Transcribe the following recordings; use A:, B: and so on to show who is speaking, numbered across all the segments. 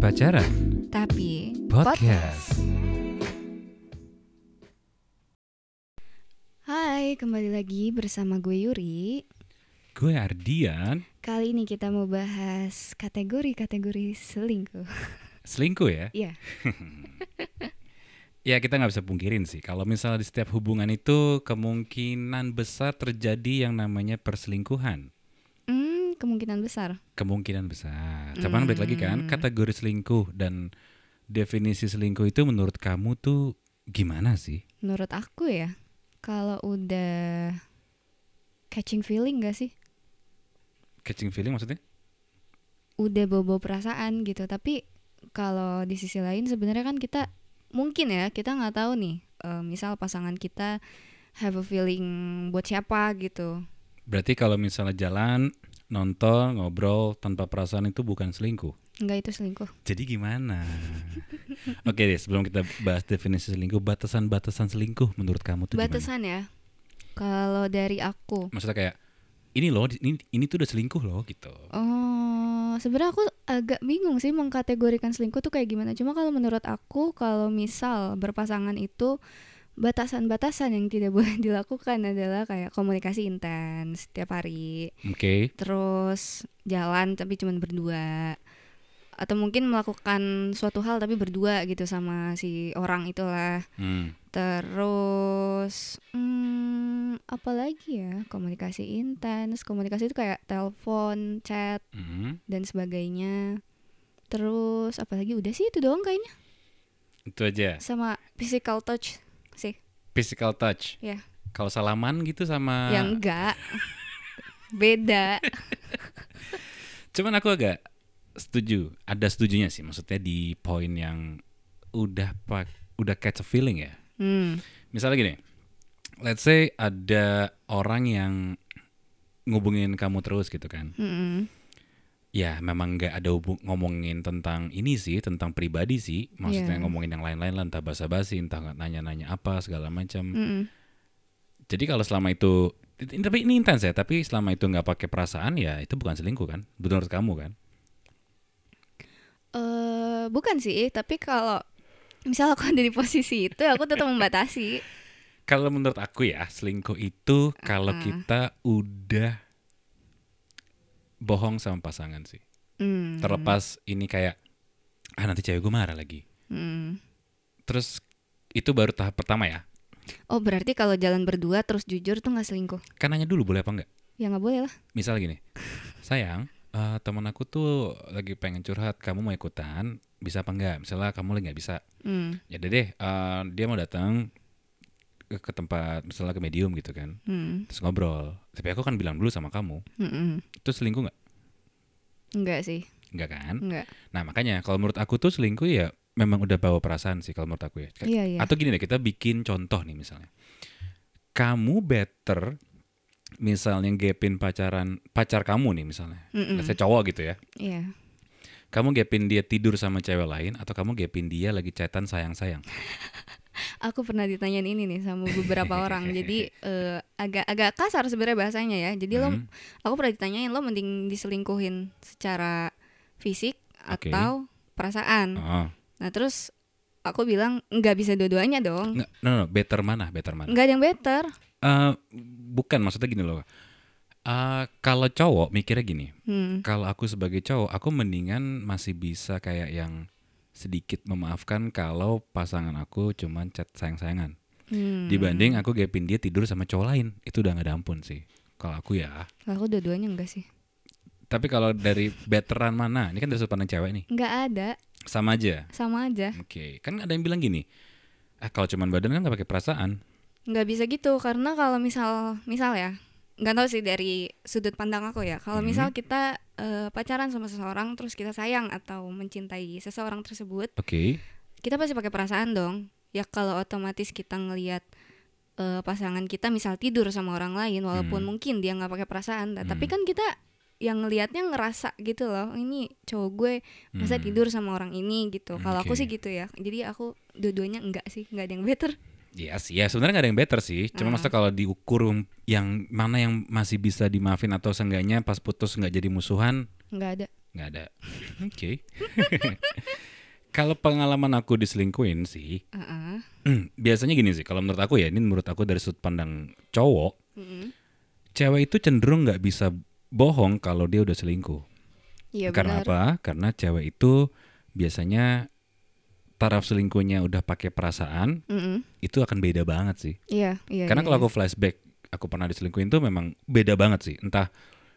A: Pacaran
B: Tapi
A: Podcast
B: Hai, kembali lagi bersama gue Yuri.
A: Gue Ardian
B: Kali ini kita mau bahas kategori-kategori selingkuh.
A: Selingkuh ya
B: Iya.
A: Ya kita nggak bisa pungkirin sih Kalau misalnya di setiap hubungan itu Kemungkinan besar terjadi yang namanya perselingkuhan
B: Hmm, kemungkinan besar.
A: Kemungkinan besar Cuman balik lagi kan Kategori selingkuh dan Definisi selingkuh itu menurut kamu tuh Gimana sih?
B: Menurut aku ya, kalau udah catching feeling gak sih?
A: Catching feeling maksudnya?
B: Udah bobo perasaan gitu. Tapi kalau di sisi lain sebenarnya kan kita mungkin ya kita nggak tahu nih. eh, misal pasangan kita have a feeling buat siapa gitu.
A: Berarti kalau misalnya jalan Nonton, ngobrol tanpa perasaan itu bukan selingkuh
B: Enggak itu selingkuh.
A: Jadi gimana? Oke deh, sebelum kita bahas definisi selingkuh, batasan-batasan selingkuh menurut kamu tuh gimana?
B: batasan ya kalau dari aku
A: Maksudnya kayak ini loh, di- ini, ini tuh udah selingkuh loh gitu.
B: oh sebenarnya aku agak bingung sih mengkategorikan selingkuh tuh kayak gimana cuma kalau menurut aku kalau misal berpasangan itu batasan-batasan yang tidak boleh dilakukan adalah kayak komunikasi intens setiap hari
A: Oke,
B: terus jalan tapi cuman berdua atau mungkin melakukan suatu hal tapi berdua gitu sama si orang itulah
A: hmm.
B: Terus hmm, apa lagi ya? Komunikasi intens, komunikasi itu kayak telepon, chat
A: hmm.
B: dan sebagainya. Terus apalagi udah sih itu doang kayaknya
A: itu aja.
B: sama physical touch sih.
A: Physical touch.
B: Ya.
A: Kalau salaman gitu sama.
B: Yang Ya enggak beda.
A: Cuman aku agak setuju. Ada setujunya sih, maksudnya di poin yang udah pak, udah catch a feeling ya.
B: Hmm.
A: Misalnya gini, let's say ada orang yang ngubungin kamu terus gitu kan.
B: Mm-mm.
A: Ya memang nggak ada hubung ngomongin tentang ini sih, tentang pribadi sih. Maksudnya
B: Iya.
A: ngomongin yang lain-lain lah, entah basa-basi, entah nggak nanya-nanya apa, segala macam.
B: Mm-mm.
A: Jadi kalau selama itu, ini- tapi ini intens ya, tapi selama itu nggak pakai perasaan ya itu bukan selingkuh kan? Menurut kamu kan?
B: Eh, bukan sih, tapi kalau misal aku ada di posisi itu aku tetap membatasi.
A: Kalau menurut aku ya, selingkuh itu kalau
B: Ah.
A: kita udah bohong sama pasangan sih.
B: Hmm.
A: Terlepas ini kayak, ah nanti cewek gue marah lagi.
B: Hmm.
A: Terus itu baru tahap pertama ya.
B: Oh, berarti kalau jalan berdua terus jujur tuh nggak selingkuh.
A: Kan nanya dulu boleh apa enggak?
B: Ya nggak boleh lah.
A: misal gini sayang eh, teman aku tuh lagi pengen curhat kamu mau ikutan bisa apa enggak misalnya kamu lagi nggak bisa
B: Hmm.
A: ya udah deh eh, dia mau datang ke, ke tempat misalnya ke medium gitu kan
B: Hmm,
A: terus ngobrol tapi aku kan bilang dulu sama kamu
B: mm-mm.
A: itu selingkuh nggak
B: enggak sih,
A: nggak kan
B: enggak.
A: nah makanya kalau menurut aku tuh selingkuh ya memang udah bawa perasaan sih kalau menurut aku ya
B: Iya, iya.
A: Atau gini deh, kita bikin contoh nih misalnya. Kamu better misalnya gapin pacaran pacar kamu nih misalnya.
B: Mm-mm.
A: Saya cowok gitu ya.
B: Hmm, Iya.
A: Kamu gapin dia tidur sama cewek lain atau kamu gapin dia lagi chatan sayang-sayang.
B: Aku pernah ditanyain ini nih sama beberapa orang. Jadi eh, agak agak kasar sebenarnya bahasanya ya. Jadi lo
A: Hmm.
B: aku pernah ditanyain lo mending diselingkuhin secara fisik
A: Oke.
B: atau perasaan.
A: Oh.
B: Nah, terus aku bilang nggak bisa dua-duanya dong.
A: Nggak, no, no, no, better mana? Better mana?
B: Nggak ada yang better.
A: Eh, bukan maksudnya gini loh. Eh, kalau cowok mikirnya gini,
B: Hmm.
A: kalau aku sebagai cowok, aku mendingan masih bisa kayak yang sedikit memaafkan kalau pasangan aku cuman chat sayang-sayangan.
B: Hmm.
A: dibanding aku gapin dia tidur sama cowok lain itu udah gak ada ampun sih kalau aku ya
B: Kalau aku dua-duanya enggak sih.
A: tapi kalau dari veteran mana ini kan dari sudut pandang cewek nih
B: Nggak ada,
A: sama aja
B: sama aja.
A: oke kan ada yang bilang gini ah kalau cuman badan kan gak pakai perasaan
B: nggak bisa gitu karena kalau misal misal ya nggak tahu sih dari sudut pandang aku ya kalau
A: Hmm.
B: misal kita eh, pacaran sama seseorang terus kita sayang atau mencintai seseorang tersebut
A: oke
B: kita pasti pakai perasaan dong ya kalau otomatis kita ngelihat eh, pasangan kita misal tidur sama orang lain walaupun
A: Hmm.
B: mungkin dia nggak pakai perasaan
A: Hmm.
B: tapi kan kita yang ngelihatnya ngerasa gitu loh ini cowok gue masa
A: Hmm.
B: tidur sama orang ini gitu
A: Hmm,
B: kalau aku
A: oke.
B: sih gitu ya jadi aku dua-duanya enggak sih nggak ada yang better
A: Iya sih, ya sebenarnya gak ada yang better sih. Cuma
B: Ah.
A: maksudnya kalau diukur yang mana yang masih bisa dimaafin atau seenggaknya pas putus nggak jadi musuhan,
B: nggak ada
A: nggak ada. Oke. kalau pengalaman aku diselingkuin sih,
B: Heeh.
A: biasanya gini sih. Kalau menurut aku ya, ini menurut aku dari sudut pandang cowok,
B: Mm-mm.
A: cewek itu cenderung nggak bisa bohong kalau dia udah selingkuh.
B: Iya
A: Karena
B: benar.
A: apa? Karena cewek itu biasanya taraf selingkuhnya udah pakai perasaan,
B: Mm-mm.
A: itu akan beda banget sih.
B: Iya, iya.
A: Karena
B: iya,
A: kalau
B: iya.
A: aku flashback, aku pernah diselingkuhin tuh memang beda banget sih. Entah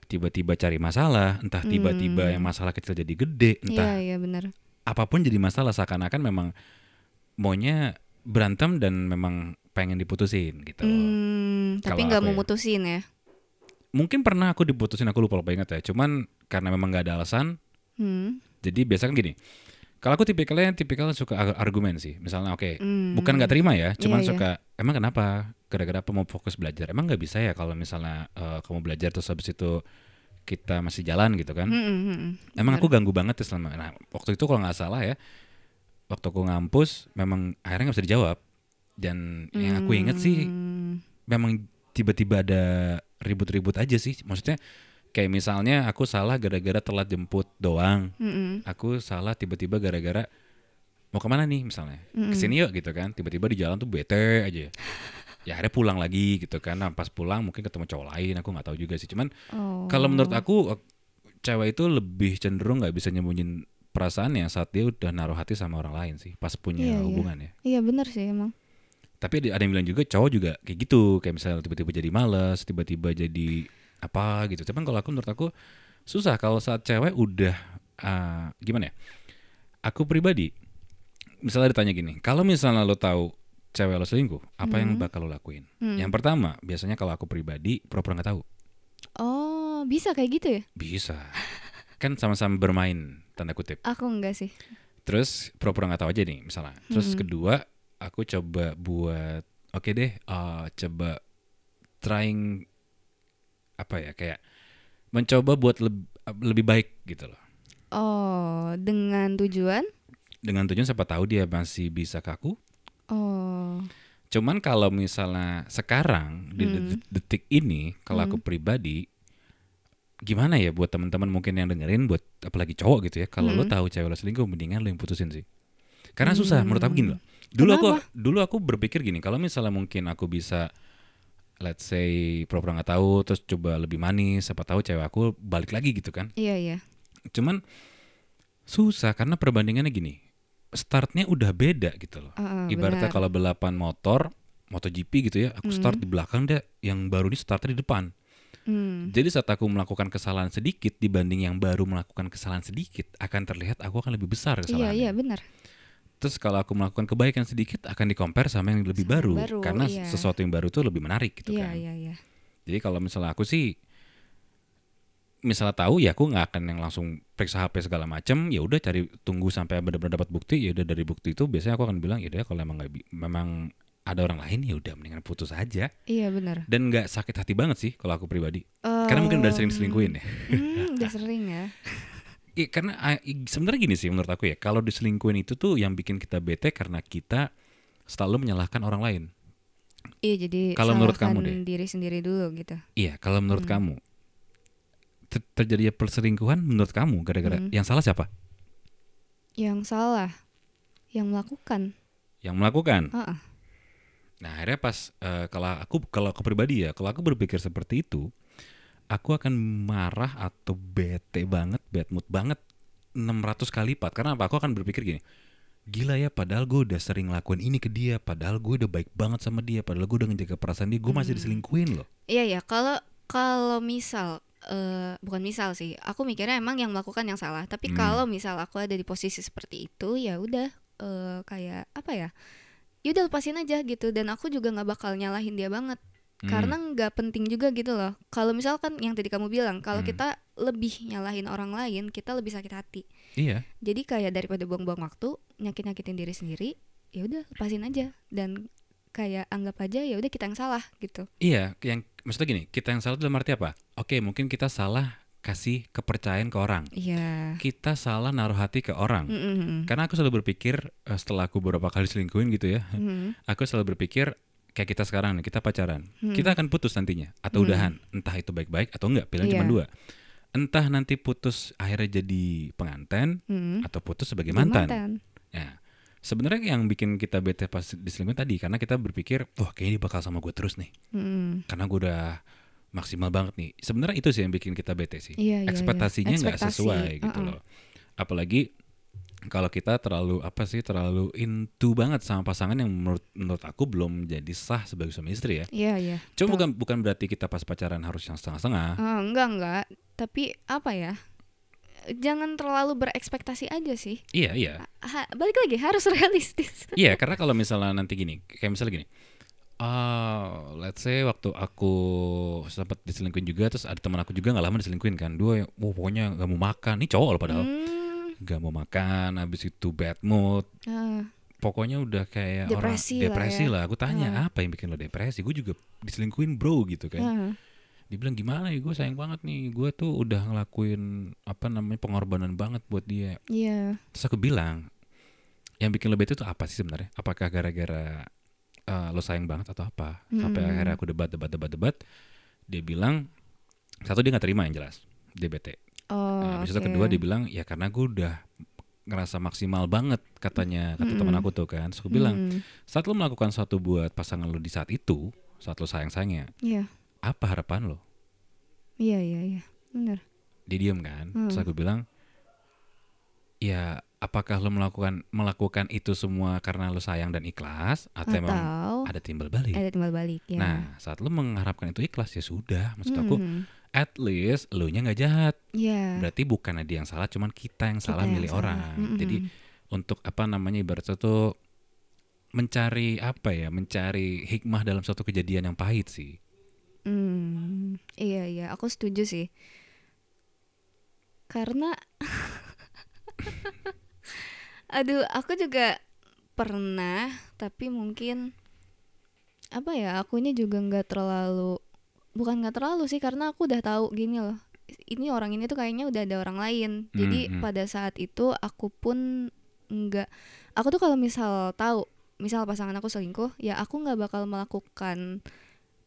A: tiba-tiba cari masalah, entah tiba-tiba
B: Hmm.
A: yang masalah kecil jadi gede,
B: Iya,
A: entah Gitu.
B: iya benar.
A: apapun jadi masalah seakan-akan memang maunya berantem dan memang pengen diputusin gitu.
B: Hmm, tapi
A: Kalau
B: nggak
A: aku
B: mau
A: ya.
B: mutusin ya.
A: Mungkin pernah aku diputusin, aku lupa lupa ingat ya. Cuman karena memang nggak ada alasan,
B: Hmm.
A: jadi biasanya gini. Kalau aku tipikalnya tipikal suka ar- argumen sih. Misalnya oke,
B: hmm.
A: bukan nggak terima ya, cuman
B: Iya, iya.
A: suka emang kenapa? Gara-gara apa mau fokus belajar? Emang nggak bisa ya kalau misalnya eh, kamu belajar terus habis itu kita masih jalan gitu kan?
B: Hmm, hmm, hmm.
A: Emang
B: Benar.
A: aku ganggu banget ya selama. Nah waktu itu kalau nggak salah ya, waktu aku ngampus memang akhirnya nggak bisa dijawab. Dan yang ya, aku inget sih
B: Hmm.
A: memang tiba-tiba ada ribut-ribut aja sih. Maksudnya kayak misalnya aku salah gara-gara telat jemput doang
B: Hmm, hmm.
A: aku salah tiba-tiba gara-gara mau kemana nih misalnya
B: Mm-mm.
A: kesini yuk gitu kan tiba-tiba di jalan tuh bete aja ya akhirnya pulang lagi gitu kan nah, pas pulang mungkin ketemu cowok lain aku nggak tahu juga sih cuman
B: Oh.
A: kalau menurut aku eh, cewek itu lebih cenderung nggak bisa nyembunyiin perasaannya saat dia udah naruh hati sama orang lain sih pas punya
B: Iya, iya.
A: hubungan ya
B: Iya benar sih emang.
A: tapi ada, ada yang bilang juga cowok juga kayak gitu kayak misalnya tiba-tiba jadi malas tiba-tiba jadi apa gitu cuman kalau aku menurut aku susah kalau saat cewek udah eh, gimana ya aku pribadi misalnya ditanya gini kalau misalnya lo tahu cewek lo selingkuh apa yang
B: Hmm.
A: bakal lo lakuin
B: Hmm.
A: yang pertama biasanya kalau aku pribadi pura-pura nggak tahu
B: Oh, bisa kayak gitu ya?
A: bisa kan sama-sama bermain tanda kutip
B: Aku enggak sih.
A: Terus pura-pura nggak tahu aja nih misalnya. Terus
B: Mm-mm.
A: kedua aku coba buat oke deh eh, coba trying apa ya kayak mencoba buat leb- lebih baik gitu loh.
B: Oh, dengan tujuan?
A: Dengan tujuan siapa tahu dia masih bisa ke aku.
B: Oh.
A: Cuman kalau misalnya sekarang di
B: Mm.
A: det- detik ini kalau aku pribadi gimana ya buat teman-teman mungkin yang dengerin buat apalagi cowok gitu ya kalau lo
B: Mm.
A: tahu cewek lo selingkuh mendingan lo yang putusin sih karena susah menurut aku gini loh dulu aku dulu aku berpikir gini kalau misalnya mungkin aku bisa let's say pura-pura nggak tahu terus coba lebih manis siapa tahu cewek aku balik lagi gitu kan
B: Iya, iya.
A: cuman susah karena perbandingannya gini startnya udah beda gitu loh
B: Heeh,
A: ibaratnya
B: Hmm, benar.
A: kalau balapan motor MotoGP gitu ya aku start di belakang deh yang baru ini startnya di depan
B: Hmm.
A: jadi saat aku melakukan kesalahan sedikit dibanding yang baru melakukan kesalahan sedikit akan terlihat aku akan lebih besar
B: Iya,
A: kesalahannya
B: iya, benar.
A: terus kalau aku melakukan kebaikan sedikit akan dikompar sama yang lebih
B: Sama yang
A: baru,
B: baru,
A: karena
B: iya.
A: sesuatu yang baru itu lebih menarik gitu
B: Iya,
A: kan
B: iya, iya.
A: jadi kalau misalnya aku sih misalnya tahu ya aku nggak akan yang langsung periksa HP segala macam ya udah cari tunggu sampai benar-benar dapat bukti ya udah dari bukti itu biasanya aku akan bilang ya udah kalau emang nggak bi- memang ada orang lain ya udah mendingan putus aja
B: Iya, benar.
A: dan nggak sakit hati banget sih kalau aku pribadi karena mungkin udah sering diselingkuhin ya
B: Hmm, udah sering ya.
A: Iya, karena ah, i- sebenarnya gini sih menurut aku ya kalau diselingkuhin itu tuh yang bikin kita bete karena kita selalu menyalahkan orang lain
B: Iya, jadi
A: Kalau menurut kamu
B: salahkan diri sendiri dulu gitu.
A: iya kalau menurut
B: Hmm.
A: kamu ter- terjadinya perselingkuhan menurut kamu gara-gara
B: Hmm.
A: yang salah siapa
B: Yang salah yang melakukan.
A: yang melakukan
B: Heeh.
A: Nah akhirnya pas eh, kalau aku kalau aku pribadi ya kalau aku berpikir seperti itu, aku akan marah atau bete banget, bad mood banget 600 kali lipat. Karena apa? Aku akan berpikir gini, gila ya padahal gue udah sering lakuin ini ke dia, padahal gue udah baik banget sama dia, padahal gue udah ngejaga perasaan dia, gue masih diselingkuhin loh.
B: Iya, iya. Kalau kalau misal eh bukan misal sih. Aku mikirnya emang yang melakukan yang salah.
A: Hmm.
B: Tapi kalau misal aku ada di posisi seperti itu, ya udah eh, kayak apa ya? Ya udah lepasin aja gitu dan aku juga nggak bakal nyalahin dia banget.
A: Hmm.
B: karena nggak penting juga gitu loh kalau misalkan yang tadi kamu bilang kalau
A: Hmm.
B: kita lebih nyalahin orang lain kita lebih sakit hati
A: iya,
B: jadi kayak daripada buang-buang waktu nyakit nyakitin diri sendiri ya udah lepasin aja dan kayak anggap aja ya udah kita yang salah gitu
A: iya. Yang maksudnya gini, kita yang salah dalam arti apa? Oke mungkin kita salah kasih kepercayaan ke orang,
B: iya
A: kita salah naruh hati ke orang.
B: Mm-mm.
A: Karena aku selalu berpikir eh, setelah aku beberapa kali selingkuhin gitu ya,
B: Mm-mm.
A: aku selalu berpikir kayak kita sekarang nih, kita pacaran,
B: Hmm.
A: kita akan putus nantinya atau
B: Hmm.
A: udahan, entah itu baik-baik atau enggak, pilihan cuma
B: Iya.
A: dua. entah nanti putus akhirnya jadi pengantin
B: Mm.
A: atau putus sebagai
B: Jadi
A: mantan. Ya. Sebenarnya yang bikin kita bete pas diselingkuhin tadi karena kita berpikir, wah kayaknya dia bakal sama gue terus nih,
B: Mm.
A: karena gue udah maksimal banget nih. Sebenarnya itu sih yang bikin kita bete sih.
B: Iya, iya, iya.
A: Ekspektasinya nggak
B: Ekspektasi,
A: sesuai gitu
B: uh-uh.
A: loh. Apalagi kalau kita terlalu apa sih terlalu into banget sama pasangan yang menurut menurut aku belum jadi sah sebagai suami istri ya.
B: Iya, iya.
A: Cuma
B: Betul.
A: bukan bukan berarti kita pas pacaran harus yang setengah-setengah.
B: Ah, enggak, enggak. Tapi apa ya? Jangan terlalu berekspektasi aja sih.
A: Iya iya.
B: Ha- balik lagi harus realistis.
A: Iya, karena kalau misalnya nanti gini, kayak misalnya gini. ah let's say waktu aku sempat diselingkuhin juga terus ada teman aku juga nggak lama diselingkuhin kan. Dua oh, pokoknya nggak mau makan. Ini cowok loh padahal.
B: Hmm,
A: nggak mau makan, habis itu bad mood.
B: ah,
A: Pokoknya udah kayak orang
B: Depresi lah
A: depresi
B: ya.
A: lah. Aku tanya, "Apa yang bikin lo depresi?" Gue juga diselingkuhin, Bro, gitu kan.
B: ah.
A: Dibilang gimana ya gue sayang banget nih. Gue tuh udah ngelakuin apa namanya pengorbanan banget buat dia.
B: Iya.
A: Terus aku bilang, yang bikin lo bete itu apa sih sebenarnya? Apakah gara-gara eh, lo sayang banget atau apa? Sampai
B: Mm-mm.
A: akhirnya aku debat, debat, debat, debat. Dia bilang, satu dia nggak terima yang jelas, dia bete.
B: Oh.
A: Nah, habis itu
B: oke.
A: kedua dia bilang, ya karena gue udah ngerasa maksimal banget katanya kata
B: Mm-mm.
A: teman aku tuh kan. Terus aku bilang,
B: Hmm,
A: saat lo melakukan sesuatu buat pasangan lo di saat itu, saat lo sayang-sayangnya,
B: Iya,
A: apa harapan lo?
B: iya, iya, iya. Benar.
A: dia diem kan terus
B: Hmm.
A: aku bilang ya apakah lo melakukan melakukan itu semua karena lo sayang dan ikhlas atau emang
B: Atau
A: ada timbal balik
B: ada timbal balik ya.
A: nah saat lo mengharapkan itu ikhlas ya sudah maksud aku
B: Hmm,
A: at least lo nya nggak jahat
B: Iya.
A: berarti bukan dia yang salah cuman kita yang salah
B: kita yang
A: milih
B: salah. Hmm,
A: orang
B: Mm-mm.
A: jadi untuk apa namanya ibaratnya tuh mencari apa ya mencari hikmah dalam suatu kejadian yang pahit sih
B: Hmm, iya iya, aku setuju sih. Karena aduh, aku juga pernah, tapi mungkin apa ya, akunya juga nggak terlalu bukan nggak terlalu sih karena aku udah tahu gini loh. Ini orang ini tuh kayaknya udah ada orang lain. Jadi
A: Mm, mm.
B: pada saat itu aku pun nggak aku tuh kalau misal tahu, misal pasangan aku selingkuh, ya aku nggak bakal melakukan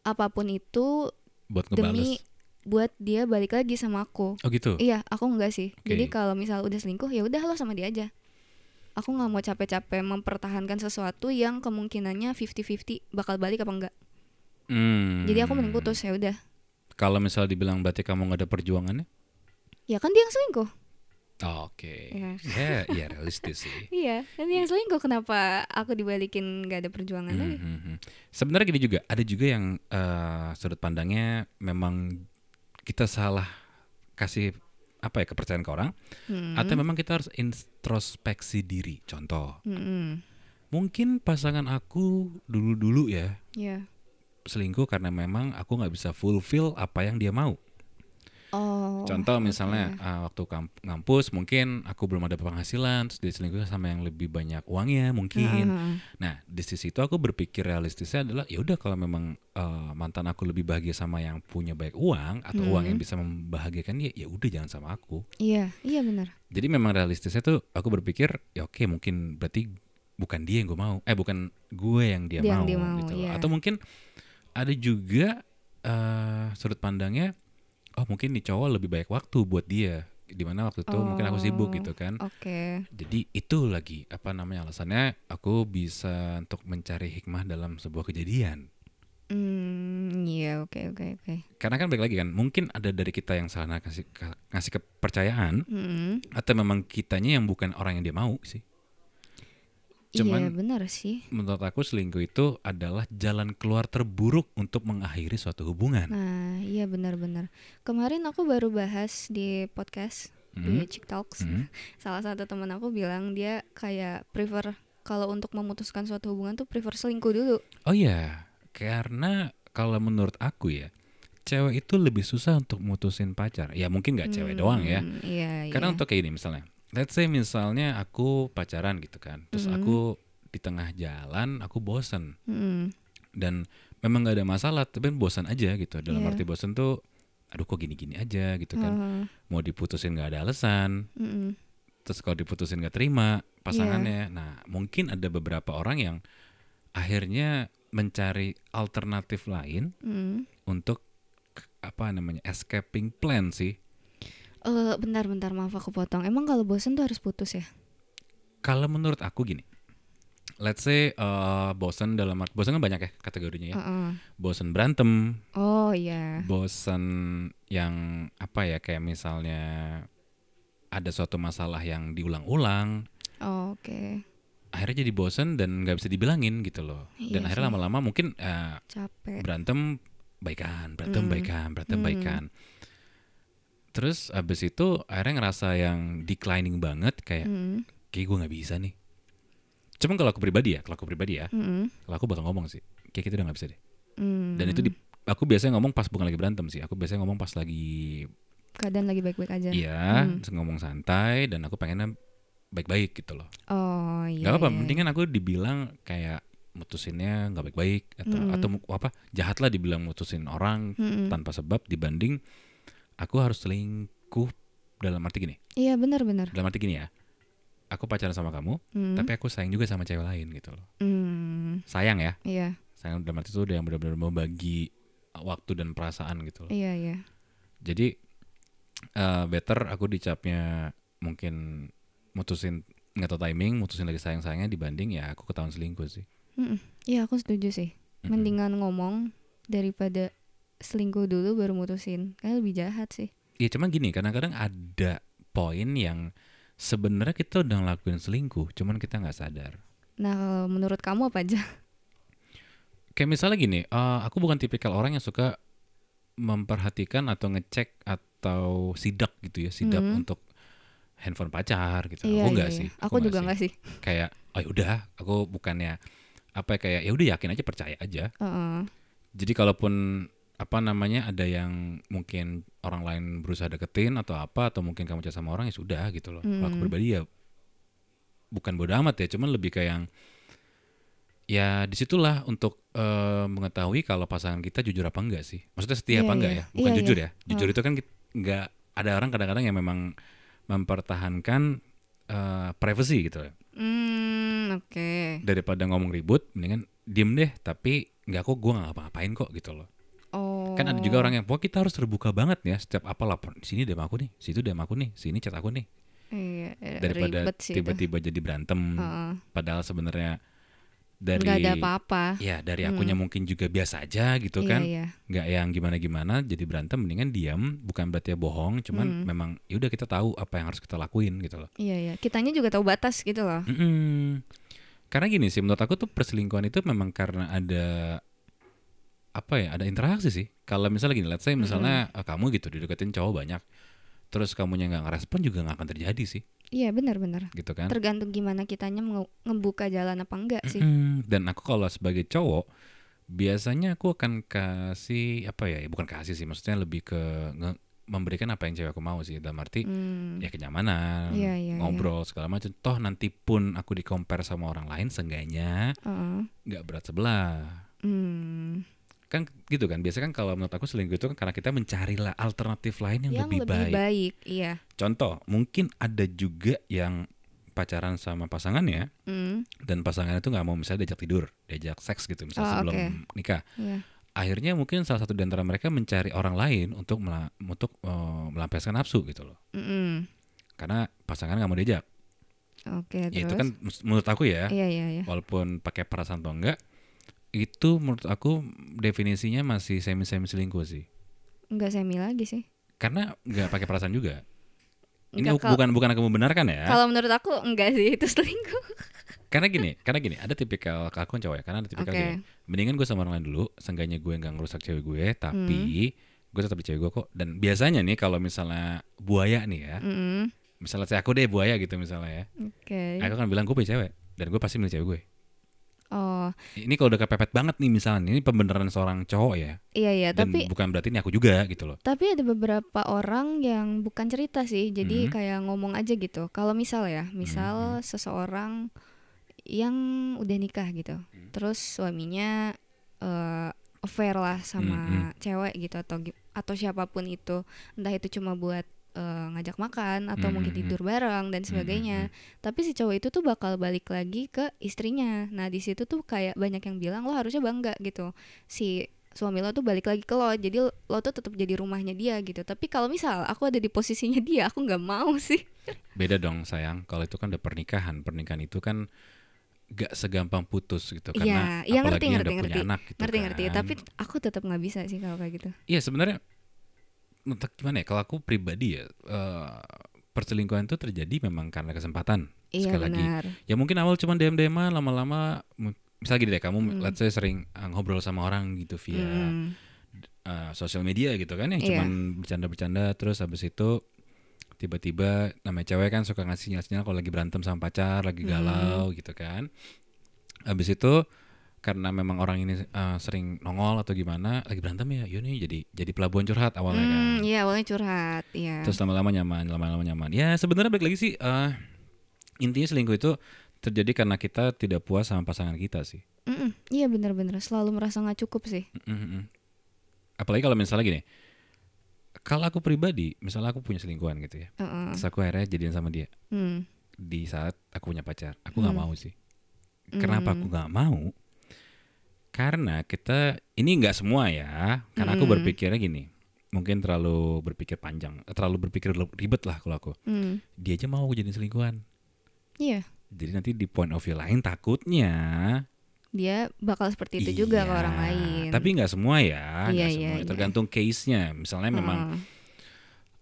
B: apapun itu
A: buat
B: demi
A: ngebales
B: buat dia balik lagi sama aku.
A: oh gitu
B: Iya, aku enggak sih.
A: Oke.
B: Jadi kalau misal udah selingkuh ya udah lo sama dia aja. Aku nggak mau capek-capek mempertahankan sesuatu yang kemungkinannya 50-50 bakal balik apa enggak.
A: Hmm.
B: Jadi aku mending putus ya udah.
A: Kalau misalnya dibilang berarti kamu nggak ada perjuangannya?
B: Ya kan dia yang selingkuh.
A: Oke.
B: Iya.
A: Ya, ya realistis sih.
B: Iya, kan dia yang selingkuh kenapa aku dibalikin nggak ada perjuangan lagi?
A: Mhm. Sebenarnya gini juga, ada juga yang eh, sudut pandangnya memang kita salah kasih apa ya kepercayaan ke orang
B: Hmm.
A: atau memang kita harus introspeksi diri. Contoh,
B: Mm-mm.
A: mungkin pasangan aku dulu-dulu ya
B: Iya.
A: selingkuh karena memang aku nggak bisa fulfill apa yang dia mau.
B: Oh.
A: Contoh misalnya
B: oke.
A: ah, waktu kamp- ngampus mungkin aku belum ada penghasilan terus diselingkuhin sama yang lebih banyak uangnya mungkin.
B: Ah,
A: Nah, di sisi itu aku berpikir realistisnya adalah ya udah kalau memang eh, mantan aku lebih bahagia sama yang punya banyak uang atau
B: Hmm.
A: uang yang bisa membahagiakan dia, ya udah jangan sama aku.
B: Iya, iya benar.
A: Jadi memang realistisnya tuh aku berpikir ya oke mungkin berarti bukan dia yang gue mau. Eh bukan gue yang dia
B: Dia
A: mau
B: yang dia mau,
A: gitu loh.
B: iya.
A: Atau mungkin ada juga eh, sudut pandangnya oh mungkin nih cowok lebih banyak waktu buat dia dimana waktu itu mungkin aku sibuk
B: Oh,
A: gitu kan
B: Oke.
A: jadi itu lagi apa namanya alasannya aku bisa untuk mencari hikmah dalam sebuah kejadian
B: Hmm, iya oke oke oke.
A: karena kan balik lagi kan mungkin ada dari kita yang salah ngasih ngasih kepercayaan
B: Mm-mm.
A: atau memang kitanya yang bukan orang yang dia mau sih
B: iya
A: Cuman-
B: benar sih.
A: menurut aku selingkuh itu adalah jalan keluar terburuk untuk mengakhiri suatu hubungan
B: Nah, iya benar-benar. Kemarin aku baru bahas di podcast di
A: Hmm,
B: Chick Talks.
A: hmm.
B: Salah satu teman aku bilang dia kayak prefer kalau untuk memutuskan suatu hubungan tuh prefer selingkuh dulu.
A: oh iya karena kalau menurut aku ya cewek itu lebih susah untuk mutusin pacar ya mungkin nggak cewek
B: Hmm,
A: doang ya
B: Iya,
A: Karena
B: iya.
A: untuk kayak gini misalnya, let's say misalnya aku pacaran gitu kan, terus
B: Mm-mm.
A: aku di tengah jalan aku bosen
B: Mm-mm.
A: dan memang nggak ada masalah, tapi bosan aja gitu. Dalam
B: Iya. Hmm.
A: arti bosen tuh, aduh kok gini-gini aja gitu kan.
B: Heeh,
A: Mau diputusin nggak ada alasan,
B: mm-mm.
A: terus kalau diputusin nggak terima
B: Iya.
A: pasangannya. Nah mungkin ada beberapa orang yang akhirnya mencari alternatif lain
B: Mm.
A: untuk apa namanya escaping plan sih
B: Eh, bentar bentar maaf aku potong. Emang kalau bosen tuh harus putus ya?
A: Kalau menurut aku gini, let's say eh, bosen dalam art- bosen kan banyak ya kategorinya ya.
B: Heeh.
A: Bosen berantem,
B: Oh iya.
A: bosen yang apa ya kayak misalnya ada suatu masalah yang diulang-ulang,
B: Oh, Oke.
A: akhirnya jadi bosen dan nggak bisa dibilangin gitu loh. Dan
B: Iya
A: akhirnya
B: sih.
A: lama-lama mungkin eh,
B: Capek.
A: berantem baikan, berantem
B: Mm.
A: baikan, berantem
B: Mm.
A: baikan. Terus abis itu akhirnya ngerasa yang declining banget kayak
B: Mm,
A: kayak gue nggak bisa nih. Cuman kalau aku pribadi ya, kalau aku pribadi ya,
B: mm, mm,
A: kalau aku bakal ngomong sih, kayak kita udah nggak bisa deh.
B: mm.
A: Dan itu di, aku biasanya ngomong pas bukan lagi berantem sih, aku biasanya ngomong pas lagi
B: keadaan lagi baik-baik aja.
A: iya,
B: Mm.
A: terus ngomong santai dan aku pengennya baik-baik gitu loh.
B: Oh iya.
A: Gak apa-apa,
B: iya.
A: mendingan aku dibilang kayak mutusinnya nggak baik-baik atau
B: Mm.
A: atau mu- apa jahat lah dibilang mutusin orang
B: Mm, mm.
A: tanpa sebab dibanding aku harus selingkuh dalam arti gini
B: Iya benar-benar.
A: dalam arti gini ya aku pacaran sama kamu
B: Mm,
A: tapi aku sayang juga sama cewek lain gitu loh
B: mm,
A: sayang ya
B: Iya
A: sayang dalam arti itu udah yang benar-benar membagi waktu dan perasaan gitu loh
B: iya iya.
A: jadi eh, better aku dicapnya mungkin mutusin nggak tahu timing mutusin lagi sayang sayangnya dibanding ya aku ketahuan selingkuh sih
B: Mm, mm. Iya aku setuju sih.
A: Mm-mm.
B: Mendingan ngomong daripada selingkuh dulu baru mutusin. Karena lebih jahat sih.
A: Iya cuman gini kadang-kadang ada poin yang sebenarnya kita udah ngelakuin selingkuh cuman kita nggak sadar
B: Nah kalau menurut kamu apa aja?
A: kayak misalnya gini eh, aku bukan tipikal orang yang suka memperhatikan atau ngecek atau sidak gitu ya sidak
B: Mhm.
A: untuk handphone pacar gitu aku enggak sih
B: Iya, Aku, juga enggak sih.
A: sih. kayak oh udah aku bukannya apa ya, kayak ya udah yakin aja percaya aja
B: Heeh.
A: jadi kalaupun apa namanya ada yang mungkin orang lain berusaha deketin atau apa atau mungkin kamu chat sama orang ya sudah gitu loh kalau aku
B: Hmm.
A: pribadi ya bukan bodoh amat ya cuman lebih kayak yang ya disitulah untuk eh, mengetahui kalau pasangan kita jujur apa enggak sih maksudnya setia apa
B: Iya,
A: enggak
B: iya.
A: ya bukan
B: Iya,
A: jujur
B: iya.
A: ya jujur itu kan kit- enggak ada orang kadang-kadang yang memang mempertahankan eh, privacy gitu loh
B: Hmm, oke.
A: daripada ngomong ribut mendingan diem deh tapi nggak kok gue nggak ngapa-ngapain kok gitu loh
B: Oh.
A: kan ada juga orang yang wah kita harus terbuka banget ya setiap apa lapor sini DM aku nih situ DM aku nih sini chat aku nih
B: Iya, eh,
A: daripada
B: ribet sih itu.
A: tiba-tiba jadi berantem
B: Heeh.
A: padahal sebenarnya dari
B: Nggak ada apa-apa. Hmm.
A: ya dari akunya mungkin juga biasa aja gitu
B: Iya,
A: kan
B: iya.
A: nggak yang gimana-gimana jadi berantem mendingan diam bukan berarti ya bohong cuman
B: Hmm.
A: memang ya udah kita tahu apa yang harus kita lakuin gitu loh
B: Iya, iya. Kitanya juga tahu batas gitu loh.
A: Mm-mm. karena gini sih menurut aku tuh perselingkuhan itu memang karena ada apa ya ada interaksi sih kalau misalnya gini let's say misalnya eh, kamu gitu dideketin cowok banyak terus kamunya nggak ngerespon juga nggak akan terjadi sih
B: Iya, benar-benar.
A: gitu kan
B: Tergantung gimana kitanya mau ngebuka jalan apa enggak sih.
A: Mm-mm. Hmm, dan aku kalau sebagai cowok biasanya aku akan kasih apa ya ya bukan kasih sih maksudnya lebih ke nge- memberikan apa yang cewek aku mau sih dalam arti
B: Hmm.
A: ya kenyamanan
B: Iya, iya, iya.
A: ngobrol segala macam toh nanti pun aku di compare sama orang lain seenggaknya
B: Heeh.
A: nggak berat sebelah
B: Hmm.
A: kan gitu kan biasanya kan kalau menurut aku selingkuh itu kan karena kita mencari lah alternatif lain yang, lebih, baik.
B: iya.
A: Contoh, mungkin ada juga yang pacaran sama pasangannya
B: Hmm.
A: dan pasangannya tuh nggak mau misalnya diajak tidur, diajak seks gitu misalnya
B: Oh,
A: sebelum
B: oke.
A: nikah.
B: Iya.
A: Akhirnya mungkin salah satu di antara mereka mencari orang lain untuk mela- untuk eh, melampiaskan nafsu gitu loh.
B: Mm-mm.
A: Karena pasangan nggak mau diajak.
B: Oke,
A: Ya itu
B: terus?
A: kan mus- menurut aku ya,
B: Iya, iya, iya.
A: walaupun pakai perasaan atau enggak, itu menurut aku definisinya masih semi-semi selingkuh sih.
B: Enggak semi lagi sih.
A: karena nggak pakai perasaan juga. Ini
B: Enggak,
A: bu-
B: kalau-
A: bukan bukan aku membenarkan ya.
B: Kalau menurut aku enggak sih, itu selingkuh.
A: Karena gini, karena gini, ada tipikal aku cowok ya, karena ada tipikal
B: Oke.
A: gini. Mendingan gue sama orang lain dulu, seenggaknya gue nggak ngerusak cewek gue,
B: Hmm.
A: tapi gue tetap di cewek gue kok. Dan biasanya nih kalau misalnya buaya nih ya,
B: Mm-mm.
A: misalnya saya aku deh buaya gitu misalnya ya,
B: Hmm. Oke.
A: aku akan bilang gue punya cewek dan gue pasti milih cewek gue.
B: Oh,
A: Ini kalau udah kepepet banget nih misalnya, ini pembenaran seorang cowok ya,
B: iya iya,
A: dan
B: tapi
A: bukan berarti ini aku juga gitu loh.
B: tapi ada beberapa orang yang bukan cerita sih. Jadi
A: Hmm.
B: kayak ngomong aja gitu. Kalau misal ya, misal seseorang yang udah nikah gitu. Terus suaminya eh affair lah sama cewek gitu atau gi- atau siapapun itu. Entah itu cuma buat eh, ngajak makan atau mungkin
A: Hmm.
B: tidur bareng dan sebagainya. Tapi si cowok itu tuh bakal balik lagi ke istrinya. Nah, di situ tuh kayak banyak yang bilang lo harusnya bangga gitu. Si suami lo tuh balik lagi ke lo jadi lo tuh tetap jadi rumahnya dia gitu tapi kalau misal aku ada di posisinya dia aku nggak mau sih
A: Beda dong sayang, kalau itu kan udah pernikahan. Pernikahan itu kan gak segampang putus gitu karena
B: Iya, iya, ngerti,
A: apalagi yang
B: ngerti,
A: udah punya
B: ngerti.
A: anak gitu
B: ngerti
A: kan.
B: ngerti tapi aku tetap nggak bisa sih kalau kayak gitu
A: Iya sebenarnya entah gimana ya kalau aku pribadi ya eh, perselingkuhan itu terjadi memang karena kesempatan.
B: iya
A: Sekali lagi,
B: benar
A: Ya mungkin awal cuma dm dm lama-lama m- misalnya gini deh kamu
B: Hmm.
A: let's say sering eh, ngobrol sama orang gitu via
B: Hmm.
A: eh, sosial media gitu kan yang
B: Iya.
A: cuman bercanda-bercanda terus habis itu tiba-tiba namanya cewek kan suka ngasih sinyal-sinyal kalau lagi berantem sama pacar, lagi
B: Hmm.
A: galau gitu kan. Habis itu karena memang orang ini eh, sering nongol atau gimana lagi berantem ya, yuk nih jadi jadi pelabuhan curhat awalnya kan.
B: Hmm, iya awalnya curhat iya
A: Terus lama-lama nyaman, lama-lama nyaman. Ya sebenarnya balik lagi sih eh, intinya selingkuh itu terjadi karena kita tidak puas sama pasangan kita sih.
B: Mm-mm, iya benar-benar selalu merasa nggak cukup sih
A: Mm-mm. Apalagi kalau misalnya gini, kalau aku pribadi, misalnya aku punya selingkuhan gitu ya,
B: Heeh.
A: terus aku akhirnya jadian sama dia
B: Hmm.
A: di saat aku punya pacar, aku nggak
B: Hmm.
A: mau sih. Kenapa
B: Hmm.
A: aku nggak mau? Karena kita ini nggak semua ya, karena aku
B: Mm-mm.
A: berpikirnya gini, mungkin terlalu berpikir panjang, eh, terlalu berpikir ribet lah kalau aku.
B: Hmm.
A: Dia aja mau aku jadiin selingkuhan.
B: iya
A: Jadi nanti di point of view lain takutnya
B: dia bakal seperti itu juga ke
A: Iya,
B: orang lain
A: Tapi nggak semua ya, nggak
B: Iya,
A: semua.
B: iya, Hmm. iya.
A: Tergantung case-nya. Misalnya memang
B: Heeh.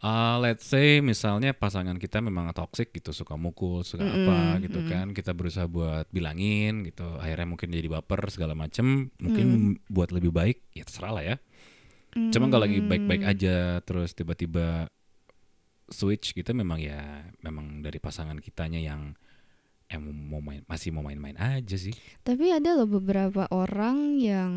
A: uh, let's say misalnya pasangan kita memang toxic gitu, suka mukul, suka
B: Mm-mm,
A: apa gitu
B: mm-mm.
A: kan. Kita berusaha buat bilangin gitu. Akhirnya mungkin jadi baper segala macem Mungkin
B: Mm.
A: buat lebih baik ya terserah lah ya. Cuman kalau lagi baik-baik
B: Hmm.
A: aja terus tiba-tiba switch gitu memang ya memang dari pasangan kitanya yang em mau main masih mau main-main aja sih.
B: Tapi ada loh beberapa orang yang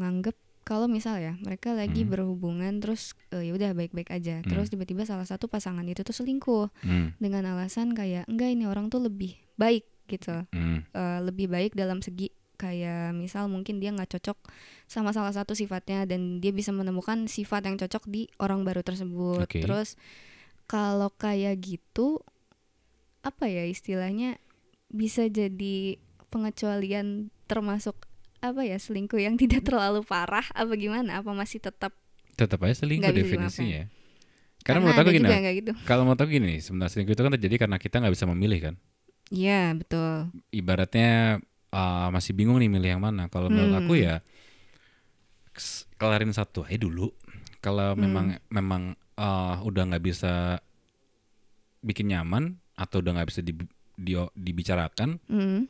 B: nganggep kalau misal ya mereka lagi
A: Hmm.
B: berhubungan terus eh, ya udah baik-baik aja. Terus tiba-tiba salah satu pasangan itu tuh selingkuh
A: Hmm,
B: dengan alasan kayak enggak ini orang tuh lebih baik gitu.
A: hmm,
B: Eh, lebih baik dalam segi kayak misal mungkin dia nggak cocok sama salah satu sifatnya dan dia bisa menemukan sifat yang cocok di orang baru tersebut.
A: Oke.
B: Terus kalau kayak gitu apa ya istilahnya bisa jadi pengecualian termasuk apa ya selingkuh yang tidak terlalu parah apa gimana apa masih tetap
A: Tetap aja selingkuh
B: Nggak bisa
A: definisinya. Karena, menurut aku
B: ada
A: gini,
B: juga yang kayak gitu.
A: Kalau menurut aku gini, sebenarnya selingkuh itu kan terjadi karena kita nggak bisa memilih kan.
B: Iya, betul.
A: Ibaratnya uh, masih bingung nih milih yang mana. Kalau menurut
B: Hmm.
A: aku ya kes- kelarin satu aja dulu. Kalau
B: Hmm.
A: memang memang uh, udah nggak bisa bikin nyaman atau udah nggak bisa di, di- dibicarakan,
B: Mm.